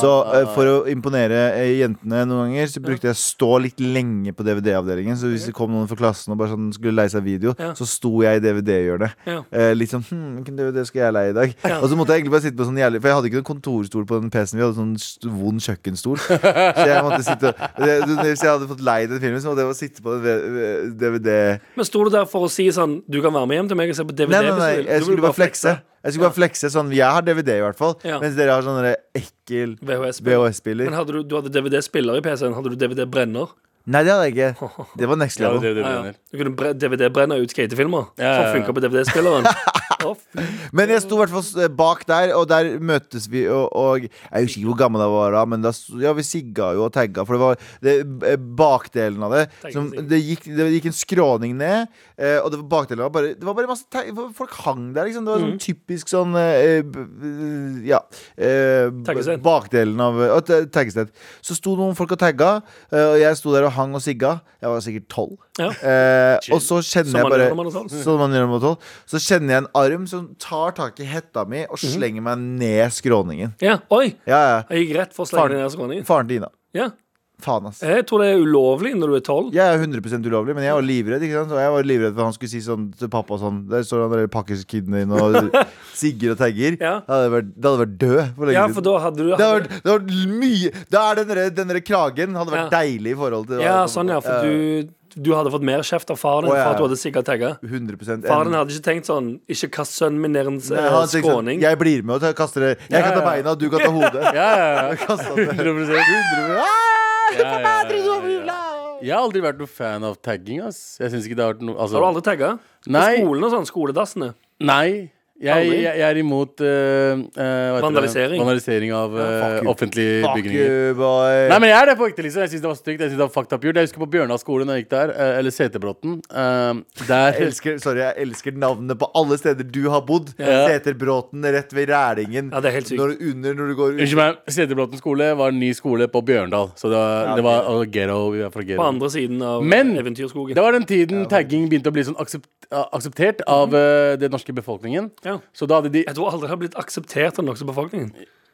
Speaker 3: Så
Speaker 4: Ah.
Speaker 3: eh, for å imponere eh, jentene noen ganger, så brukte jeg stå litt lenge på DVD-avdelingen. Så hvis det kom noen fra klassen og bare sånn skulle leie seg video,
Speaker 4: Ja.
Speaker 3: så sto jeg i DVD-hjørnet.
Speaker 4: Ja.
Speaker 3: Eh, litt sånn hm, Hvilken DVD skal jeg leie i dag? Og så måtte jeg egentlig bare sitte på sånn jævlig For jeg hadde ikke noen kontorstol på den PC-en, vi hadde sånn st- vond kjøkkenstol. så jeg måtte sitte og det- Hvis jeg hadde fått leid den filmen, så måtte jeg bare sitte på eh, den DVD-en.
Speaker 4: Men sto du der for å si sånn Du kan være med hjem til meg og se på DVD?
Speaker 3: Nei, nei,
Speaker 4: hvis du
Speaker 3: nei,
Speaker 4: vil.
Speaker 3: jeg
Speaker 4: Du vil
Speaker 3: skulle bare flekse. Jeg skulle bare flekse sånn, Jeg har DVD, i hvert fall.
Speaker 4: Ja.
Speaker 3: Mens dere har sånn der ekkel
Speaker 4: VHS-spiller.
Speaker 3: VHS-spiller.
Speaker 4: Men hadde du, du hadde DVD-spiller i PC-en? Hadde du DVD-brenner?
Speaker 3: Nei, det hadde jeg ikke. Det var next
Speaker 2: Ja, det,
Speaker 3: level.
Speaker 2: er det, du
Speaker 4: Ja, ja.
Speaker 2: mener.
Speaker 4: Du kunne bre- DVD-brenne ut skatefilmer?
Speaker 2: Ja, ja, ja.
Speaker 4: Som funka på DVD-spilleren? Å, fy.
Speaker 3: Men jeg sto i hvert fall eh, bak der, og der møttes vi, og, og Jeg husker ikke hvor gammel jeg var da, men da, sto- ja, vi sigga jo og tagga, for det var det, eh, bakdelen av det som, det, gikk, det gikk en skråning ned, eh, og det var bakdelen av bare, Det var bare masse tag, Folk hang der, liksom. Det var
Speaker 2: Mhm.
Speaker 3: sånn typisk sånn eh, b- Ja. eh, b-
Speaker 4: Taggested.
Speaker 3: bakdelen av og ta- taggested. Så sto noen folk og tagga, eh, og jeg sto der og hang og sigga. Jeg var sikkert tolv.
Speaker 4: Ja.
Speaker 3: Eh, og
Speaker 4: Som
Speaker 3: så kjenner jeg
Speaker 4: man
Speaker 3: bare
Speaker 4: gjør når man er tolv.
Speaker 3: som man gjør når man er tolv. Så kjenner jeg en arm som tar tak i hetta mi og
Speaker 4: Mhm.
Speaker 3: slenger meg ned skråningen.
Speaker 4: ja. Oi!
Speaker 3: Ja, ja.
Speaker 4: Jeg gikk rett for å slenge den ned skråningen.
Speaker 3: Faren til Ina.
Speaker 4: Ja.
Speaker 3: Faen, ass.
Speaker 4: Jeg tror det er ulovlig når du er tolv.
Speaker 3: Jeg er 100 ulovlig, men jeg var livredd. ikke sant? Og jeg var livredd for at han skulle si sånn til pappa og sånn Der står han der pakkeskidene dine og sigger og tagger.
Speaker 4: Ja.
Speaker 3: Da hadde jeg vært, da hadde jeg vært død for lenge
Speaker 4: Ja, for da hadde du
Speaker 3: Det hadde vært, det hadde vært mye Da er den derre- den derre kragen hadde vært
Speaker 4: Ja.
Speaker 3: deilig i forhold til
Speaker 4: Ja, sånn, ja. For du, du hadde fått mer kjeft av faren din
Speaker 3: Å, ja,
Speaker 4: for at du
Speaker 3: ja.
Speaker 4: hadde sigga tagga.
Speaker 3: 100
Speaker 4: Faren din hadde ikke tenkt sånn Ikke kast sønnen min ned en
Speaker 3: Nei,
Speaker 4: eh,
Speaker 3: han tenkte sånn,
Speaker 4: skråning.
Speaker 3: Jeg blir med og tar- kaster det. Jeg kan ta
Speaker 2: ja, ja.
Speaker 3: beina, og du kan ta hodet.
Speaker 2: Ja, ja, ja.
Speaker 3: Kastet det.
Speaker 2: 100%.
Speaker 3: Hundre- Ah!
Speaker 2: Ja, ja, ja, ja. Jeg har aldri vært noen fan av tagging. ass Jeg synes ikke det har vært noe altså,
Speaker 4: Har du aldri tagga? På
Speaker 2: Nei.
Speaker 4: skolen og sånn. Skoledassene.
Speaker 2: Nei. Jeg,
Speaker 4: Aldri?
Speaker 2: jeg, jeg er imot eh, eh, hva heter det?
Speaker 4: Vandalisering.
Speaker 2: vandalisering av eh,
Speaker 3: Fuck you.
Speaker 2: offentlige
Speaker 3: Fuck
Speaker 2: bygninger.
Speaker 3: you, boy.
Speaker 2: Nei, men jeg er det på ekte, liksom. Jeg synes det var stygt. Jeg synes det var fucked up gjort. Jeg husker på Bjørnar skole når jeg gikk der. eh, Eller Seterbråten. eh, Der
Speaker 3: Jeg elsker, sorry, jeg elsker navnet på alle steder du har bodd.
Speaker 2: Ja.
Speaker 3: Seterbråten rett ved Rælingen.
Speaker 4: Ja, det er helt sykt.
Speaker 3: Når, du- under, når du går ut.
Speaker 2: Unnskyld meg. Seterbråten skole var en ny skole på Bjørndal. Så det var, det var og ghetto. Vi var fra
Speaker 4: På
Speaker 2: ghetto.
Speaker 4: andre siden av
Speaker 2: Men
Speaker 4: Eventyrskogen.
Speaker 2: det var den tiden tagging begynte å bli sånn aksept, akseptert av eh, den norske befolkningen.
Speaker 4: Ja.
Speaker 2: Så da hadde de
Speaker 4: Jeg tror aldri det har blitt akseptert av den norske befolkningen.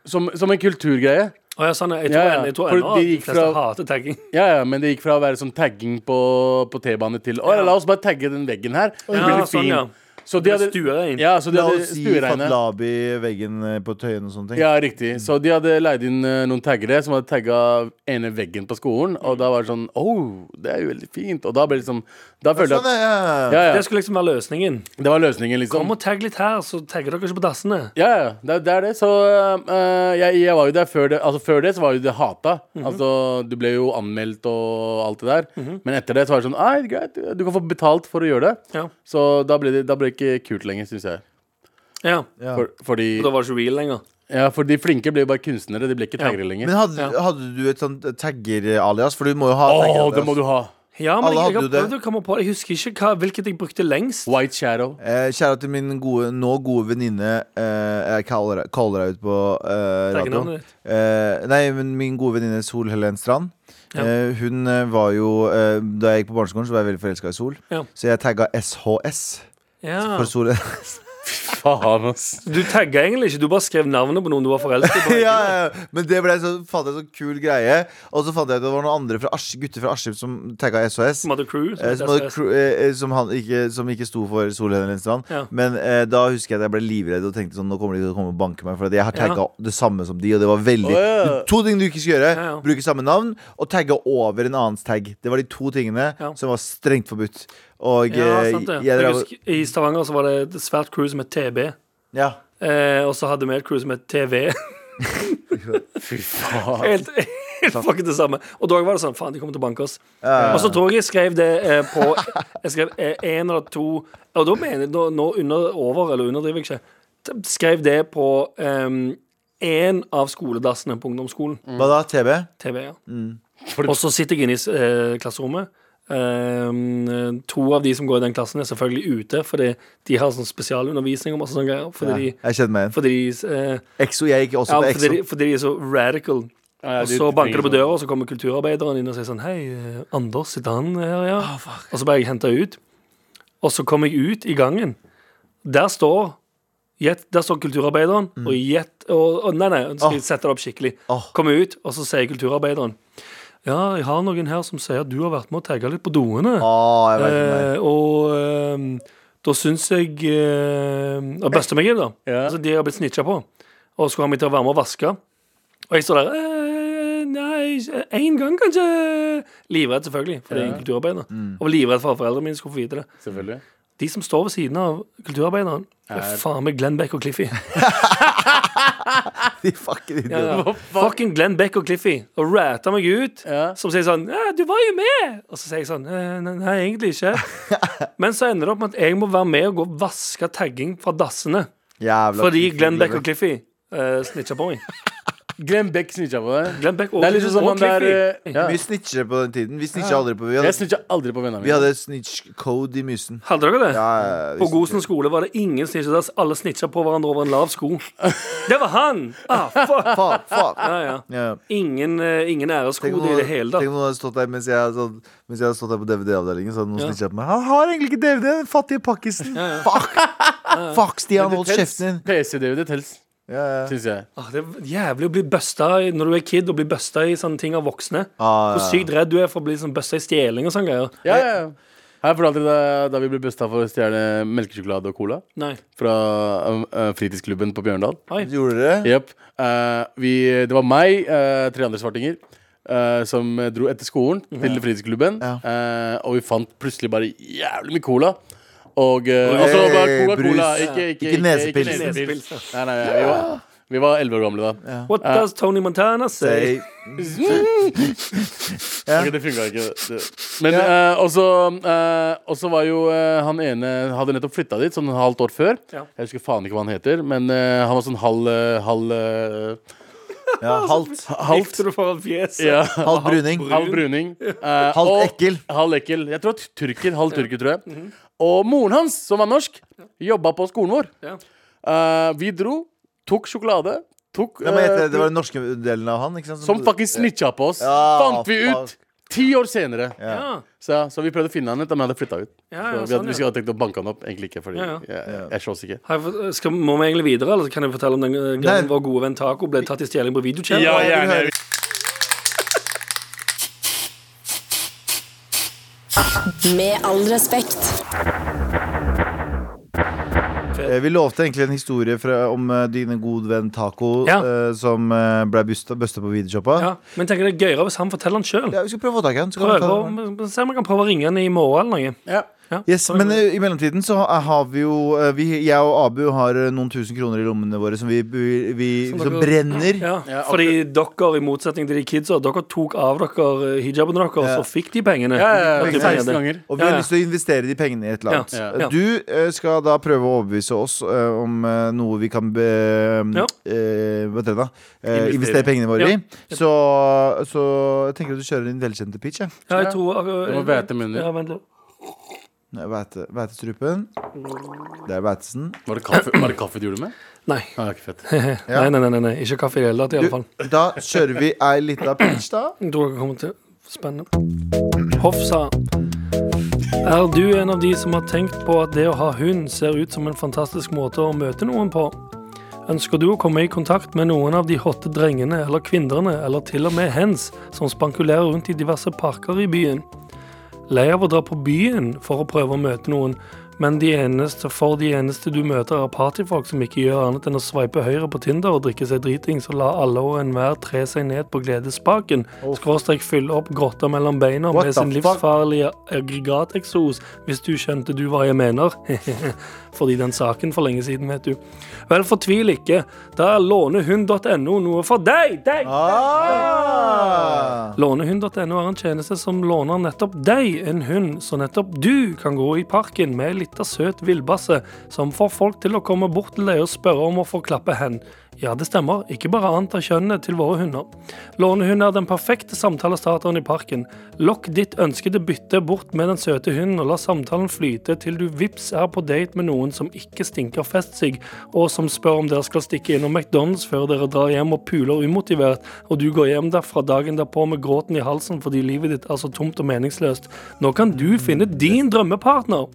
Speaker 2: Som, som en kulturgreie.
Speaker 4: Å, ja, sånn, ja. jeg
Speaker 2: Ja,
Speaker 4: tror,
Speaker 2: ja.
Speaker 4: Jeg, jeg tror
Speaker 2: For
Speaker 4: ennå at
Speaker 2: de
Speaker 4: de
Speaker 2: gikk
Speaker 4: fleste
Speaker 2: fra-
Speaker 4: hater tagging.
Speaker 2: Ja, ja, men det gikk fra å være sånn tagging på, på T-bane til Å, la oss bare tagge den veggen her. Den
Speaker 4: Ja,
Speaker 2: blir litt
Speaker 4: sånn,
Speaker 2: fin.
Speaker 4: ja.
Speaker 2: Så de hadde
Speaker 4: Stuerein.
Speaker 2: Ja, så de
Speaker 3: La
Speaker 2: hadde
Speaker 3: oss si
Speaker 2: stuereine.
Speaker 3: Fatlabi-veggen eh, på Tøyen og sånne ting.
Speaker 2: Ja, riktig. Så de hadde leid inn eh, noen taggere som hadde tagga ene veggen på skolen, og da var det sånn Oh, det er jo veldig fint. Og da ble det liksom Da følte
Speaker 3: Sånn,
Speaker 2: jeg at
Speaker 3: ja.
Speaker 2: ja,
Speaker 4: Det
Speaker 2: ja,
Speaker 4: skulle liksom være løsningen.
Speaker 2: Det var løsningen,
Speaker 4: Kom
Speaker 2: liksom.
Speaker 4: og tagg litt her, så tagger dere ikke på dassene.
Speaker 2: Ja, ja. Det, er- det er det. Så eh, jeg, jeg var jo der før det. Altså, før det så var jo det hata.
Speaker 3: Mhm.
Speaker 2: Altså, du ble jo anmeldt og alt det der. Men etter det så var det sånn Nei, greit, du kan få betalt for å gjøre det.
Speaker 4: Ja.
Speaker 2: Så da ble det, da ble det ikke kult lenger, syns jeg.
Speaker 4: ja.
Speaker 3: Ja.
Speaker 2: For, fordi,
Speaker 4: Da var det ikke real lenger.
Speaker 2: ja, for de flinke ble jo bare kunstnere. De ble ikke taggere lenger.
Speaker 3: Men hadde, hadde du et sånt tagger-alias? For du må jo ha
Speaker 2: Åh,
Speaker 3: tagger-alias.
Speaker 2: det må du ha!
Speaker 4: Ja, men
Speaker 3: Alle
Speaker 4: jeg, jeg har
Speaker 3: hadde jo det.
Speaker 4: prøvd å komme på det. Jeg husker ikke hva, hvilket jeg brukte lengst.
Speaker 2: White Shadow.
Speaker 3: Eh, kjære til min gode, nå gode venninne eh, Jeg kaller, deg- kaller deg ut på eh,
Speaker 4: Tagger
Speaker 3: radioen.
Speaker 4: navnet ditt.
Speaker 3: Eh, nei, men min gode venninne Sol Helen Strand.
Speaker 4: Ja.
Speaker 3: Eh, hun eh, var jo eh, Da jeg gikk på barneskolen, så var jeg veldig forelska i Sol.
Speaker 4: Ja. Ah.
Speaker 3: Så jeg tagga SHS
Speaker 4: Ja.
Speaker 3: for Sol. ja,
Speaker 2: Faen, ass.
Speaker 4: Du tagga egentlig ikke, du bare skrev navnet på noen du var forelsket i.
Speaker 3: ja, ja. Men det ble så, fant jeg en sånn kul greie. Og så fant jeg at det var noen andre fra Asj, gutter fra Askim som tagga SHS.
Speaker 4: Mother Crew.
Speaker 3: Eh, Som, hadde, cru- eh, eh, som, han ikke, som ikke sto for Solheim Lindstrand.
Speaker 4: Ja.
Speaker 3: Men eh, da husker jeg at jeg ble livredd og tenkte sånn Nå kommer de til å komme og banke meg. For at jeg har tagga det samme som de, og det var veldig
Speaker 2: Åh, ja.
Speaker 3: To ting du ikke skal gjøre.
Speaker 4: Ja, ja.
Speaker 3: Bruke samme navn og tagge over en annens tag. Det var de to tingene
Speaker 4: Ja.
Speaker 3: som var strengt forbudt. Og
Speaker 4: ja,
Speaker 3: eh,
Speaker 4: sant det.
Speaker 3: jeg
Speaker 4: Jeg
Speaker 3: drev
Speaker 4: husker, I Stavanger så var det et svært crew som het TB.
Speaker 3: ja.
Speaker 4: Eh, og så hadde vi et crew som het TV.
Speaker 2: Fy faen.
Speaker 4: Helt, helt fucking det samme. Og da var det sånn Faen, de kommer til å banke oss.
Speaker 3: ja, ja.
Speaker 4: Og så tror jeg jeg skrev det eh, på Jeg skrev én eh, en eller to Og da mener jeg Nå, nå under, over, eller underdriver jeg ikke. T- Skrev det på én av skoledassene på ungdomsskolen.
Speaker 3: Hva da? TB?
Speaker 4: TV, ja. Og så sitter jeg inne i s- eh, klasserommet. Eh, to av de som går i den klassen, er selvfølgelig ute, fordi de har sånn spesialundervisning og masse sånne greier. Fordi
Speaker 3: Ja.
Speaker 4: de,
Speaker 3: Jeg kjenner meg igjen.
Speaker 4: fordi de eh,
Speaker 3: Exo, jeg gikk også
Speaker 4: ja,
Speaker 3: på
Speaker 4: fordi
Speaker 3: Exo.
Speaker 4: de, fordi de er så radical.
Speaker 2: Ja, ja,
Speaker 4: og
Speaker 2: de-
Speaker 4: så
Speaker 2: de
Speaker 4: banker det
Speaker 2: trenger
Speaker 4: på
Speaker 2: sånn.
Speaker 4: døra, og så kommer kulturarbeideren inn og sier sånn Hei, eh, Anders, sitter han her, ja? og så ble jeg henta ut. Og så kom jeg ut i gangen. Der står gjett- der står kulturarbeideren, og gjett og, og Nei, nei, nå skal jeg sette det opp skikkelig.
Speaker 3: Åh.
Speaker 4: Kommer ut, og så sier kulturarbeideren Ja, jeg har noen her som sier at du har vært med å tagge litt på doene.
Speaker 3: Å, ah, jeg vet ikke.
Speaker 4: Eh, og ehm, da syns jeg eh, Og bøster meg inn, da.
Speaker 2: Ja.
Speaker 4: Altså, de har blitt snitcha på. Og skulle ha meg til å være med og vaske. Og jeg står der eh, Nei, én gang, kanskje. Livredd, selvfølgelig, for det er en kulturarbeider. Og var livredd for at foreldrene mine skulle få vite det.
Speaker 2: Selvfølgelig.
Speaker 4: De som står ved siden av kulturarbeideren, er faen meg Glenn Beck og Cliffy.
Speaker 3: De fucking idioter.
Speaker 4: Ja, ja. Fucking Glenn Beck og Cliffy. Og rater meg ut.
Speaker 2: Ja.
Speaker 4: Som sier sånn ja, 'Du var jo med!' Og så sier jeg sånn «Eh, Nei, nei egentlig ikke. Men så ender det opp med at jeg må være med og gå og vaske tagging fra dassene.
Speaker 3: Jævla
Speaker 4: Fordi
Speaker 3: Cliffy,
Speaker 4: Glenn Beck og Cliffy uh, snitcha på meg.
Speaker 2: Glenn Beck snitcha på deg.
Speaker 4: Glenn Beck og,
Speaker 2: Det er liksom som
Speaker 4: og
Speaker 2: han der
Speaker 4: Cliffy.
Speaker 2: eh, ja.
Speaker 3: Vi snitchere på den tiden. Vi snitcha aldri på Vi
Speaker 2: Jeg
Speaker 3: hadde,
Speaker 2: snitcha aldri på vennene
Speaker 3: vi
Speaker 2: mine.
Speaker 3: hadde snitch-code i mysen.
Speaker 4: Hadde dere det?
Speaker 3: Ja, ja, ja, vi
Speaker 4: På Gosen skole var det ingen snitchedass. Alle snitcha på hverandre over en lav sko. Det var han! Ah, fuck.
Speaker 3: Faen, faen.
Speaker 4: Ja, ja.
Speaker 3: Ja.
Speaker 4: Ingen, eh, ingen æresko
Speaker 3: Tenk om
Speaker 4: i det
Speaker 3: noen
Speaker 4: hele
Speaker 3: tenk
Speaker 4: tatt.
Speaker 3: om noen hadde stått der mens jeg, hadde sånn, mens jeg hadde stått der på DVD-avdelingen. Så hadde noen snitchet på meg Han har egentlig ikke DVD, den fattige pakkisen. Fuck! Fuck, Stian, hold kjeften din.
Speaker 2: PC-DVD tels.
Speaker 3: Ja, ja.
Speaker 2: syns jeg.
Speaker 4: Ah, det er jævlig å bli busta i- når du er kid, og bli busta i sånne ting av voksne.
Speaker 3: Ah, ja,
Speaker 4: Hvor sykt redd du er for å bli sånn busta i stjeling og sånne greier.
Speaker 2: Ja, ja. ja. Har jeg fortalt deg da- da vi ble busta for å stjele melkesjokolade og cola?
Speaker 4: Nei.
Speaker 2: Fra eh, eh, fritidsklubben på Bjørndal.
Speaker 4: Oi.
Speaker 3: Gjorde dere det?
Speaker 2: Jepp. Eh, vi, det var meg, eh, tre andre svartinger, eh, som dro etter skolen til fritidsklubben.
Speaker 3: Ja.
Speaker 2: Eh, og vi fant plutselig bare jævlig mye cola. Og eh,
Speaker 3: Oi,
Speaker 2: altså bare cola,
Speaker 3: brus.
Speaker 2: cola. Ikke, ikke,
Speaker 3: Ikke nesepils.
Speaker 4: Nesepils,
Speaker 2: Nei,
Speaker 4: ja.
Speaker 2: nei, vi var- vi var elleve år gamle da.
Speaker 4: What does Tony Montana say?
Speaker 3: Say-
Speaker 2: Ok, det funka ikke. Det- Men eh, og så, eh, og så var jo eh, han ene Hadde nettopp flytta dit, sånn halvt år før.
Speaker 4: Ja.
Speaker 2: Jeg husker faen ikke hva han heter, men eh, han var sånn halv eh, Halv, eh,
Speaker 3: Ja, halvt,
Speaker 2: halvt
Speaker 4: Likte du for en fjes?
Speaker 2: ja,
Speaker 3: halvt bruning.
Speaker 2: Halv bruning. eh,
Speaker 3: Halvt
Speaker 2: og-
Speaker 3: ekkel. Mhm.
Speaker 2: Halv ekkel. Jeg tror at turker, halv turker, tror jeg. Og moren hans, som var norsk, jobba på skolen vår.
Speaker 4: Ja.
Speaker 2: Eh, vi dro, tok sjokolade, tok
Speaker 3: Nei, men
Speaker 2: eh,
Speaker 3: heter, det var den norske delen av han, ikke sant? Eh,
Speaker 2: Som fucking snitcha på oss.
Speaker 3: Ja,
Speaker 2: Fant vi ut
Speaker 3: fuck.
Speaker 2: ti år senere.
Speaker 4: Ja.
Speaker 2: Så, så vi prøvde å finne han ut, men jeg hadde flytta ut.
Speaker 4: Ja, ja,
Speaker 2: så vi hadde,
Speaker 4: sånn,
Speaker 2: vi
Speaker 4: ja.
Speaker 2: skulle ha tenkt å banke han opp, egentlig ikke, fordi
Speaker 4: Ja, ja.
Speaker 2: Jeg, jeg er så sikker.
Speaker 4: Har jeg fått- Skal, må vi egentlig videre, eller kan jeg fortelle om den eh, gangen
Speaker 3: Nei.
Speaker 4: vår gode venn Taco ble tatt i stjeling på videochannel?
Speaker 2: Ja,
Speaker 3: Jeg vil
Speaker 2: gjerne.
Speaker 3: høre.
Speaker 6: Med all respekt.
Speaker 3: Eh, Vi lovte egentlig en historie fra, om eh, din gode venn Taco
Speaker 4: Ja.
Speaker 3: eh, som eh, ble busta, busta på videoshoppa.
Speaker 4: Ja, men tenker det er gøyere hvis han forteller den sjøl.
Speaker 3: Ja, vi skal prøve å få tak i han. så kan vi ta det.
Speaker 4: Se om vi kan prøve å ringe han i morgen eller noe.
Speaker 2: Ja.
Speaker 3: Yes, men eh, i mellomtiden så har har vi jo eh, vi, Jeg og Abu har eh, noen tusen kroner i lommene våre som vi, vi, vi
Speaker 4: Som
Speaker 3: som
Speaker 4: dere-
Speaker 3: brenner.
Speaker 4: Ja,
Speaker 2: Ja,
Speaker 4: fordi dere, i motsetning til de kidsa, dere tok av dere eh, hijaben deres, og
Speaker 3: Ja.
Speaker 4: så fikk de pengene.
Speaker 2: Ja, ja, ja,
Speaker 4: Dere
Speaker 2: 16
Speaker 4: trengte.
Speaker 2: ganger.
Speaker 3: Og vi har
Speaker 4: Ja, ja.
Speaker 3: lyst til å investere de pengene i et eller annet.
Speaker 4: Ja, ja.
Speaker 3: Du eh, skal da prøve å overbevise oss eh, om eh, noe vi kan be,
Speaker 4: Ja.
Speaker 3: eh, Hva heter det da? Eh,
Speaker 2: Investere.
Speaker 3: investere. pengene våre
Speaker 4: Ja.
Speaker 3: i. Så, så jeg tenker at du kjører din velkjente pitch. Jeg.
Speaker 4: Ja, jeg tror eh,
Speaker 2: Det var hvetemunner.
Speaker 4: Ja, vent litt.
Speaker 3: Nei, Væte, vætestrupen. Det er vætesen.
Speaker 2: Var det kaffe, var det kaffe du gjorde med?
Speaker 4: Nei.
Speaker 2: Ah, det er ikke fett.
Speaker 4: nei,
Speaker 3: Ja.
Speaker 4: nei, nei, nei, nei. Ikke kaffe i det hele tatt, i
Speaker 3: Du,
Speaker 4: alle fall.
Speaker 3: da kjører vi ei lita pitch, da.
Speaker 4: Jeg tror dere kommer til Spennende. Hoff sa Er du en av de som har tenkt på at det å ha hund ser ut som en fantastisk måte å møte noen på? Ønsker du å komme i kontakt med noen av de hotte drengene eller kvinnene, eller til og med hens, som spankulerer rundt i diverse parker i byen? Lei av å dra på byen for å prøve å møte noen, men de eneste for de eneste du møter, er partyfolk som ikke gjør annet enn å sveipe høyre på Tinder og drikke seg dritings og la alle og enhver tre seg ned på gledesspaken, skråstrek fylle opp grotta mellom beina
Speaker 3: What
Speaker 4: med
Speaker 3: the
Speaker 4: sin
Speaker 3: fuck?
Speaker 4: livsfarlige aggregateksos, hvis du skjønte du hva jeg mener. Fordi den saken for lenge siden, vet du. Vel, fortvil ikke. Da er lånehund.no noe for deg! deg.
Speaker 3: Ah!
Speaker 4: Lånehund.no er en tjeneste som låner nettopp deg en hund, så nettopp du kan gå i parken med ei lita søt villbasse som får folk til å komme bort til deg og spørre om å få klappe hen. Ja, det stemmer, ikke bare anta kjønnet til våre hunder. Lånehund er den perfekte samtalestarteren i parken. Lokk ditt ønskede bytte bort med den søte hunden, og la samtalen flyte til du vips er på date med noen som ikke stinker festsig, og som spør om dere skal stikke innom McDonald's før dere drar hjem og puler umotivert, og du går hjem derfra dagen derpå med gråten i halsen fordi livet ditt er så tomt og meningsløst. Nå kan du finne din drømmepartner!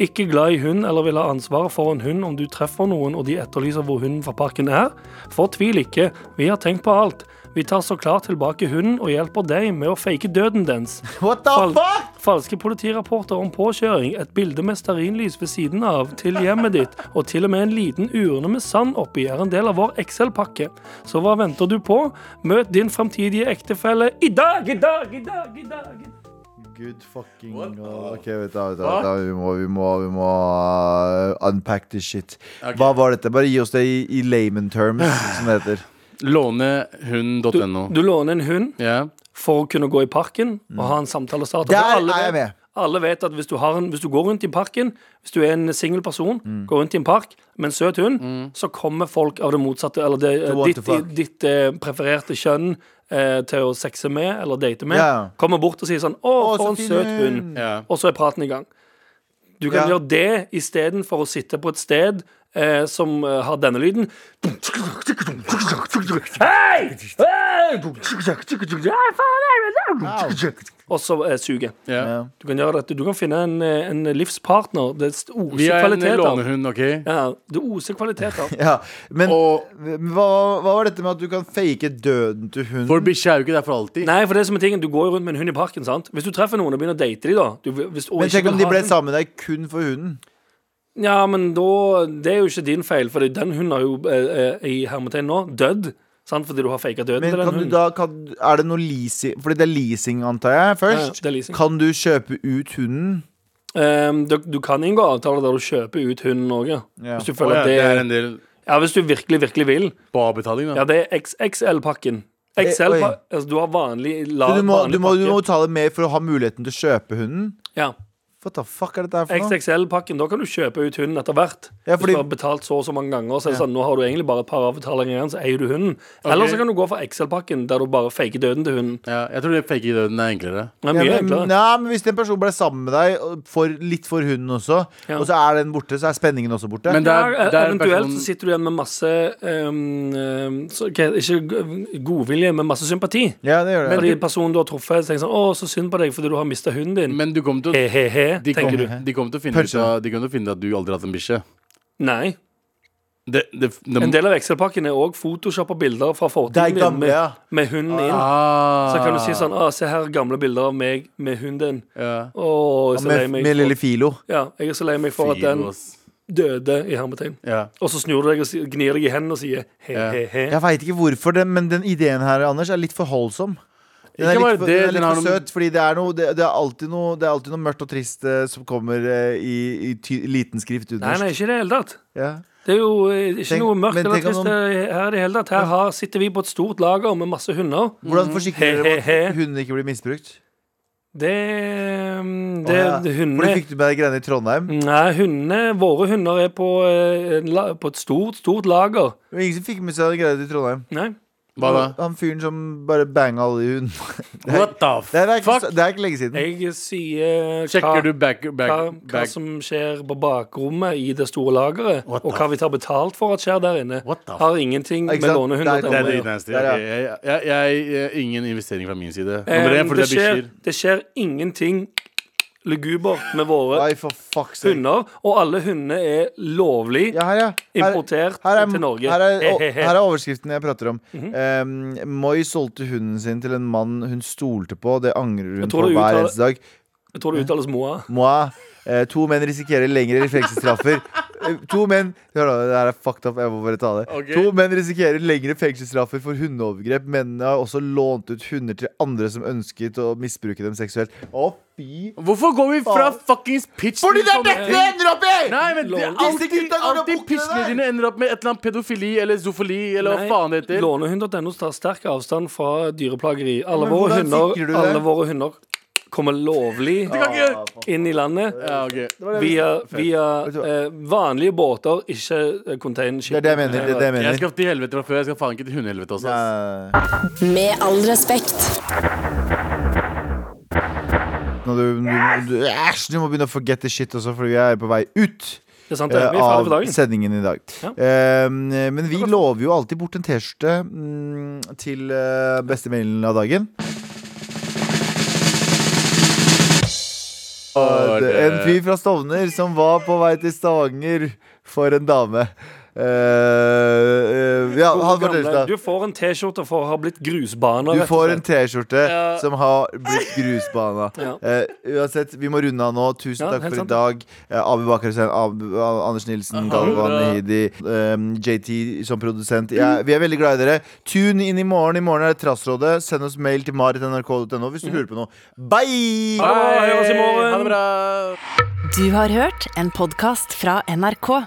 Speaker 4: Ikke glad i hund eller vil ha ansvaret for en hund om du treffer noen og de etterlyser hvor hunden fra parken er? Fortvil ikke, vi har tenkt på alt. Vi tar så klart tilbake hunden og hjelper deg med å fake døden dens.
Speaker 3: What the
Speaker 4: Fal
Speaker 3: fuck?
Speaker 4: falske politirapporter om påkjøring, et bilde med stearinlys ved siden av, til hjemmet ditt, og til og med en liten urne med sand oppi er en del av vår Excel-pakke. Så hva venter du på? Møt din fremtidige ektefelle i dag, i dag, i dag, i dag! i dag.
Speaker 3: Good fucking Ok, vet du, vet du, vet du, vi må, vi må, vi må uh, unpack this shit. Hva var dette? Bare gi oss det i, i layman terms, som det heter.
Speaker 4: Du,
Speaker 2: Lånehund.no.
Speaker 4: du låner en hund.
Speaker 2: Ja.
Speaker 4: for å kunne gå i parken og ha en samtalestarter.
Speaker 3: Der
Speaker 4: For alle
Speaker 3: er jeg
Speaker 4: vet-
Speaker 3: med.
Speaker 4: Alle vet at hvis du, har en, hvis du går rundt i parken, hvis du er en singel person,
Speaker 3: Mm.
Speaker 4: går rundt i en park med en søt hund, så kommer folk av det motsatte, eller det,
Speaker 3: To want to
Speaker 4: ditt,
Speaker 3: fuck.
Speaker 4: ditt eh, prefererte kjønn eh, til å sexe med eller date med,
Speaker 3: Ja.
Speaker 4: kommer bort og sier sånn 'Å,
Speaker 3: Å,
Speaker 4: for
Speaker 3: så
Speaker 4: en
Speaker 3: fin
Speaker 4: søt
Speaker 3: hund.»
Speaker 4: hund'.
Speaker 2: Ja.
Speaker 4: Og så er praten i gang. Du kan
Speaker 3: Ja.
Speaker 4: gjøre det istedenfor å sitte på et sted eh, som eh, har denne lyden. Hei! Hei! Og så eh, suger.
Speaker 2: Ja.
Speaker 4: Du kan gjøre dette. Du kan finne en, eh, en livspartner. Det
Speaker 2: Vi
Speaker 4: oser
Speaker 2: er en
Speaker 4: kvaliteter.
Speaker 2: lånehund, OK?
Speaker 4: Ja, det oser kvaliteter.
Speaker 3: Ja, men
Speaker 2: Og-
Speaker 3: hva, hva var dette med at du kan fake døden til hunden?
Speaker 2: For bikkja er jo ikke der for alltid.
Speaker 4: Nei, for det som er tingen, du går jo rundt med en hund i parken, sant? Hvis du treffer noen og begynner å date dem, da du, hvis, og
Speaker 3: men
Speaker 4: ikke
Speaker 3: tenk om
Speaker 4: vil
Speaker 3: de
Speaker 4: ha
Speaker 3: ble
Speaker 4: den-
Speaker 3: sammen med deg kun for hunden.
Speaker 4: Ja, men da Det er jo ikke din feil, for den hunden har jo eh, eh, i hermetegn nå dødd. Sant? Fordi du har faka døden
Speaker 3: Men
Speaker 4: til den
Speaker 3: kan du
Speaker 4: hunden.
Speaker 3: da, kan, er det noe leasing Fordi det er leasing, antar jeg,
Speaker 4: Ja,
Speaker 3: først.
Speaker 4: det er leasing.
Speaker 3: Kan du kjøpe ut hunden?
Speaker 4: Ehm, du, du kan inngå avtaler der du kjøper ut hunden òg, ja.
Speaker 3: Ja.
Speaker 4: Hvis du
Speaker 2: Å,
Speaker 4: føler
Speaker 2: ja,
Speaker 4: at det,
Speaker 2: det er en del
Speaker 4: Ja, hvis du virkelig, virkelig vil.
Speaker 2: på avbetaling, da.
Speaker 4: Ja, det er XXL-pakken. XL
Speaker 3: Eh, oi.
Speaker 4: altså, du har vanlig lav
Speaker 3: Så du må, du,
Speaker 4: vanlig
Speaker 3: må, du
Speaker 4: pakke.
Speaker 3: må betale mer for å ha muligheten til å kjøpe hunden?
Speaker 4: Ja.
Speaker 3: What the fuck er dette her for noe?
Speaker 4: XXL-pakken, da kan du kjøpe ut hunden etter hvert.
Speaker 3: Ja, fordi-
Speaker 4: Hvis du har betalt så og så mange ganger, så er det sånn, nå har du egentlig bare et par avbetalinger igjen, så eier du hunden. Eller så kan du gå for XL-pakken, der du bare faker døden til hunden.
Speaker 2: Ja, jeg tror det fake døden er enklere.
Speaker 4: Det er
Speaker 3: Ja,
Speaker 4: mye
Speaker 3: men,
Speaker 4: enklere.
Speaker 3: nei, men hvis en person ble sammen med deg, og for, litt for hunden også,
Speaker 4: Ja.
Speaker 3: og så er den borte, så er spenningen også borte.
Speaker 2: Men det er,
Speaker 4: Ja,
Speaker 2: det er en
Speaker 4: eventuelt
Speaker 2: person
Speaker 4: så sitter du igjen med masse ehm, ehm, så, ok, Ikke go- godvilje, men masse sympati.
Speaker 3: ja, det gjør det.
Speaker 4: Fordi personen du har truffet, tenker sånn 'Å, så synd på deg fordi du har mista hunden din'.
Speaker 2: Men du kommer til å
Speaker 4: He-he-he,
Speaker 2: de
Speaker 4: tenker
Speaker 2: kommer,
Speaker 4: du.
Speaker 2: de kommer til å finne
Speaker 3: Punch
Speaker 2: ut av, de kommer til å finne ut at du aldri har hatt en bikkje.
Speaker 4: Nei.
Speaker 2: Det, det, det,
Speaker 4: En del av Excel-pakken er òg photoshoppa bilder fra
Speaker 3: De
Speaker 4: fortiden din
Speaker 3: gamle,
Speaker 4: med,
Speaker 3: ja.
Speaker 4: med hunden inn.
Speaker 2: ah,
Speaker 4: Så kan du si sånn 'Å, se her, gamle bilder av meg med hunden din'.
Speaker 2: ja.
Speaker 4: Å, jeg er så lei
Speaker 3: Med,
Speaker 4: meg
Speaker 3: med
Speaker 4: for-
Speaker 3: lille altså. Filo.
Speaker 4: Ja, jeg er så lei meg for at den
Speaker 2: Filos.
Speaker 4: døde i hermetegn.
Speaker 2: ja.
Speaker 4: Og så snur du deg og si- gnir deg i hendene og sier he-he-he.
Speaker 3: Jeg veit ikke hvorfor, det, men den ideen her Anders, er litt for holdsom. Den er
Speaker 2: Ikke bare
Speaker 3: litt for,
Speaker 2: det,
Speaker 3: den er
Speaker 2: den
Speaker 3: litt
Speaker 2: har
Speaker 3: for
Speaker 2: noe-
Speaker 3: søt, fordi det er, noe, det, det, er alltid noe, det er alltid noe mørkt og trist eh, som kommer eh, i, i ty, liten skrift
Speaker 4: Nei,
Speaker 3: underst.
Speaker 4: nei, ikke i det hele tatt.
Speaker 3: Ja.
Speaker 4: Det er jo eh, ikke
Speaker 3: Tenk-
Speaker 4: noe mørkt
Speaker 3: men
Speaker 4: eller
Speaker 3: tenk om
Speaker 4: trist eh, her i det hele tatt. Her har, sitter vi på et stort lager med masse hunder.
Speaker 3: Hvordan forsikrer dere om
Speaker 4: He-he-he.
Speaker 3: at hunden ikke blir misbrukt?
Speaker 4: Det, mm,
Speaker 3: Å,
Speaker 4: det
Speaker 3: ja.
Speaker 4: hundene Mm.
Speaker 3: Hvordan fikk du med deg greiene i Trondheim?
Speaker 4: Nei, hundene Våre hunder er på, eh, en la- på et stort, stort lager.
Speaker 3: Det var ingen som fikk med seg greiene i Trondheim.
Speaker 4: Nei.
Speaker 2: Hva da?
Speaker 3: Han fyren som bare banga alle i hunden.
Speaker 2: What the
Speaker 3: Det er, det, er ikke,
Speaker 2: fuck?
Speaker 3: så- det er ikke lenge siden.
Speaker 4: Jeg sier
Speaker 2: Sjekker du back,
Speaker 4: hva,
Speaker 2: back,
Speaker 4: hva
Speaker 2: back.
Speaker 4: som skjer på bakrommet i det store lageret,
Speaker 2: What
Speaker 4: og
Speaker 2: the
Speaker 4: hva vi tar betalt for at skjer der inne,
Speaker 2: What the
Speaker 4: har ingenting
Speaker 3: Ikke
Speaker 4: med
Speaker 3: sant?
Speaker 4: lånehunder
Speaker 3: Det
Speaker 2: Det er
Speaker 4: til å
Speaker 3: Ja,
Speaker 4: gjøre.
Speaker 2: dritnasty.
Speaker 3: ja, ja.
Speaker 2: Ok, Jeg, jeg, jeg, jeg, ingen investering fra min side. Nummer
Speaker 4: Eh,
Speaker 2: én fordi det er
Speaker 4: skjer,
Speaker 2: bikkjer.
Speaker 4: det skjer ingenting lugubert med våre
Speaker 3: Nei, for fuck's sake.
Speaker 4: hunder, og alle hundene er lovlig
Speaker 3: Ja, her, ja. Her,
Speaker 4: importert
Speaker 3: her, er,
Speaker 4: til Norge. Mhm.
Speaker 3: her, er,
Speaker 4: He,
Speaker 3: å,
Speaker 4: he, he.
Speaker 3: her er overskriften jeg prater om. um, Moi solgte hunden sin til en mann hun stolte på. Det angrer hun
Speaker 4: tror
Speaker 3: på
Speaker 4: det
Speaker 3: hver
Speaker 4: uttaler-
Speaker 3: eneste dag.
Speaker 4: Jeg tror det uttales Moa.
Speaker 3: Moi, eh, to menn risikerer lengre fengselsstraffer. Eh, To menn Hør da, det her er fucked up. Jeg må bare ta det.
Speaker 2: Ok.
Speaker 3: To menn risikerer lengre fengselsstraffer for hundeovergrep. Mennene har også lånt ut hunder til andre som ønsket å misbruke dem seksuelt. Å, fy
Speaker 2: Hvorfor går vi fra fuckings pitch
Speaker 3: Fordi det er
Speaker 2: sånne
Speaker 3: dette
Speaker 2: ting?
Speaker 3: det ender opp i!
Speaker 2: Nei, men det, er
Speaker 4: Disse
Speaker 2: alltid,
Speaker 3: gutta går og
Speaker 2: alltid
Speaker 3: bukker
Speaker 2: pitchene
Speaker 3: der.
Speaker 2: dine ender opp med et eller annet pedofili eller zoofili eller
Speaker 4: Nei,
Speaker 2: hva faen det heter.
Speaker 4: Lånehund.no tar sterk avstand fra dyreplageri. Alle,
Speaker 3: Men
Speaker 4: våre
Speaker 3: hvordan
Speaker 4: hunder,
Speaker 3: sikrer du det?
Speaker 4: alle våre hunder kommer lovlig
Speaker 2: Kan
Speaker 3: Ah,
Speaker 2: ikke-
Speaker 4: inn i landet
Speaker 2: Ja, ok
Speaker 4: via, via
Speaker 3: Vet du hva?
Speaker 4: eh, vanlige båter, ikke eh,
Speaker 3: Det
Speaker 4: containerskip.
Speaker 3: er det jeg mener. Det er det jeg
Speaker 2: Jeg
Speaker 3: mener.
Speaker 2: skal til helvete fra før. Jeg skal faen ikke til hundehelvete også. ass.
Speaker 3: Eh,
Speaker 6: Med all respekt.
Speaker 3: Nå, du, du, du, æsj, du må begynne å forget the shit også, for vi er på vei ut
Speaker 4: Det er sant, det.
Speaker 3: eh,
Speaker 4: Vi er ferdig
Speaker 3: av
Speaker 4: for dagen.
Speaker 3: sendingen i dag.
Speaker 4: Ja.
Speaker 3: Eh, men vi lover jo alltid bort en T-skjorte mm, til eh, beste mailen av dagen. Og Eh, det- En fyr fra Stovner som var på vei til Stavanger for en dame. Eh, eh, ja,
Speaker 4: Hvor
Speaker 3: han
Speaker 4: gamle-
Speaker 3: forteller
Speaker 4: Du
Speaker 3: det.
Speaker 4: får en T-skjorte for å ha blitt grusbaner.
Speaker 3: Du
Speaker 4: rett og
Speaker 3: får en
Speaker 4: slett.
Speaker 3: T-skjorte
Speaker 4: Ja.
Speaker 3: som har blitt grusbana.
Speaker 4: Ja.
Speaker 3: Eh, uansett, vi må runde av nå. Tusen
Speaker 4: Ja,
Speaker 3: takk
Speaker 4: helt
Speaker 3: for i
Speaker 4: sant.
Speaker 3: dag. Eh, Abu Bakar Hussein, Abu- A- Anders Nilsen, Galvan Hidi, ehm, JT som produsent. Jeg- vi er veldig glad i dere. Tune inn i morgen. I morgen er det Trassrådet. Send oss mail til marit.nrk.no hvis du lurer på noe. Bye!
Speaker 4: Mhm. Ha det bra, høres i morgen.
Speaker 2: Ha det bra.
Speaker 1: Du har hørt en podkast fra NRK.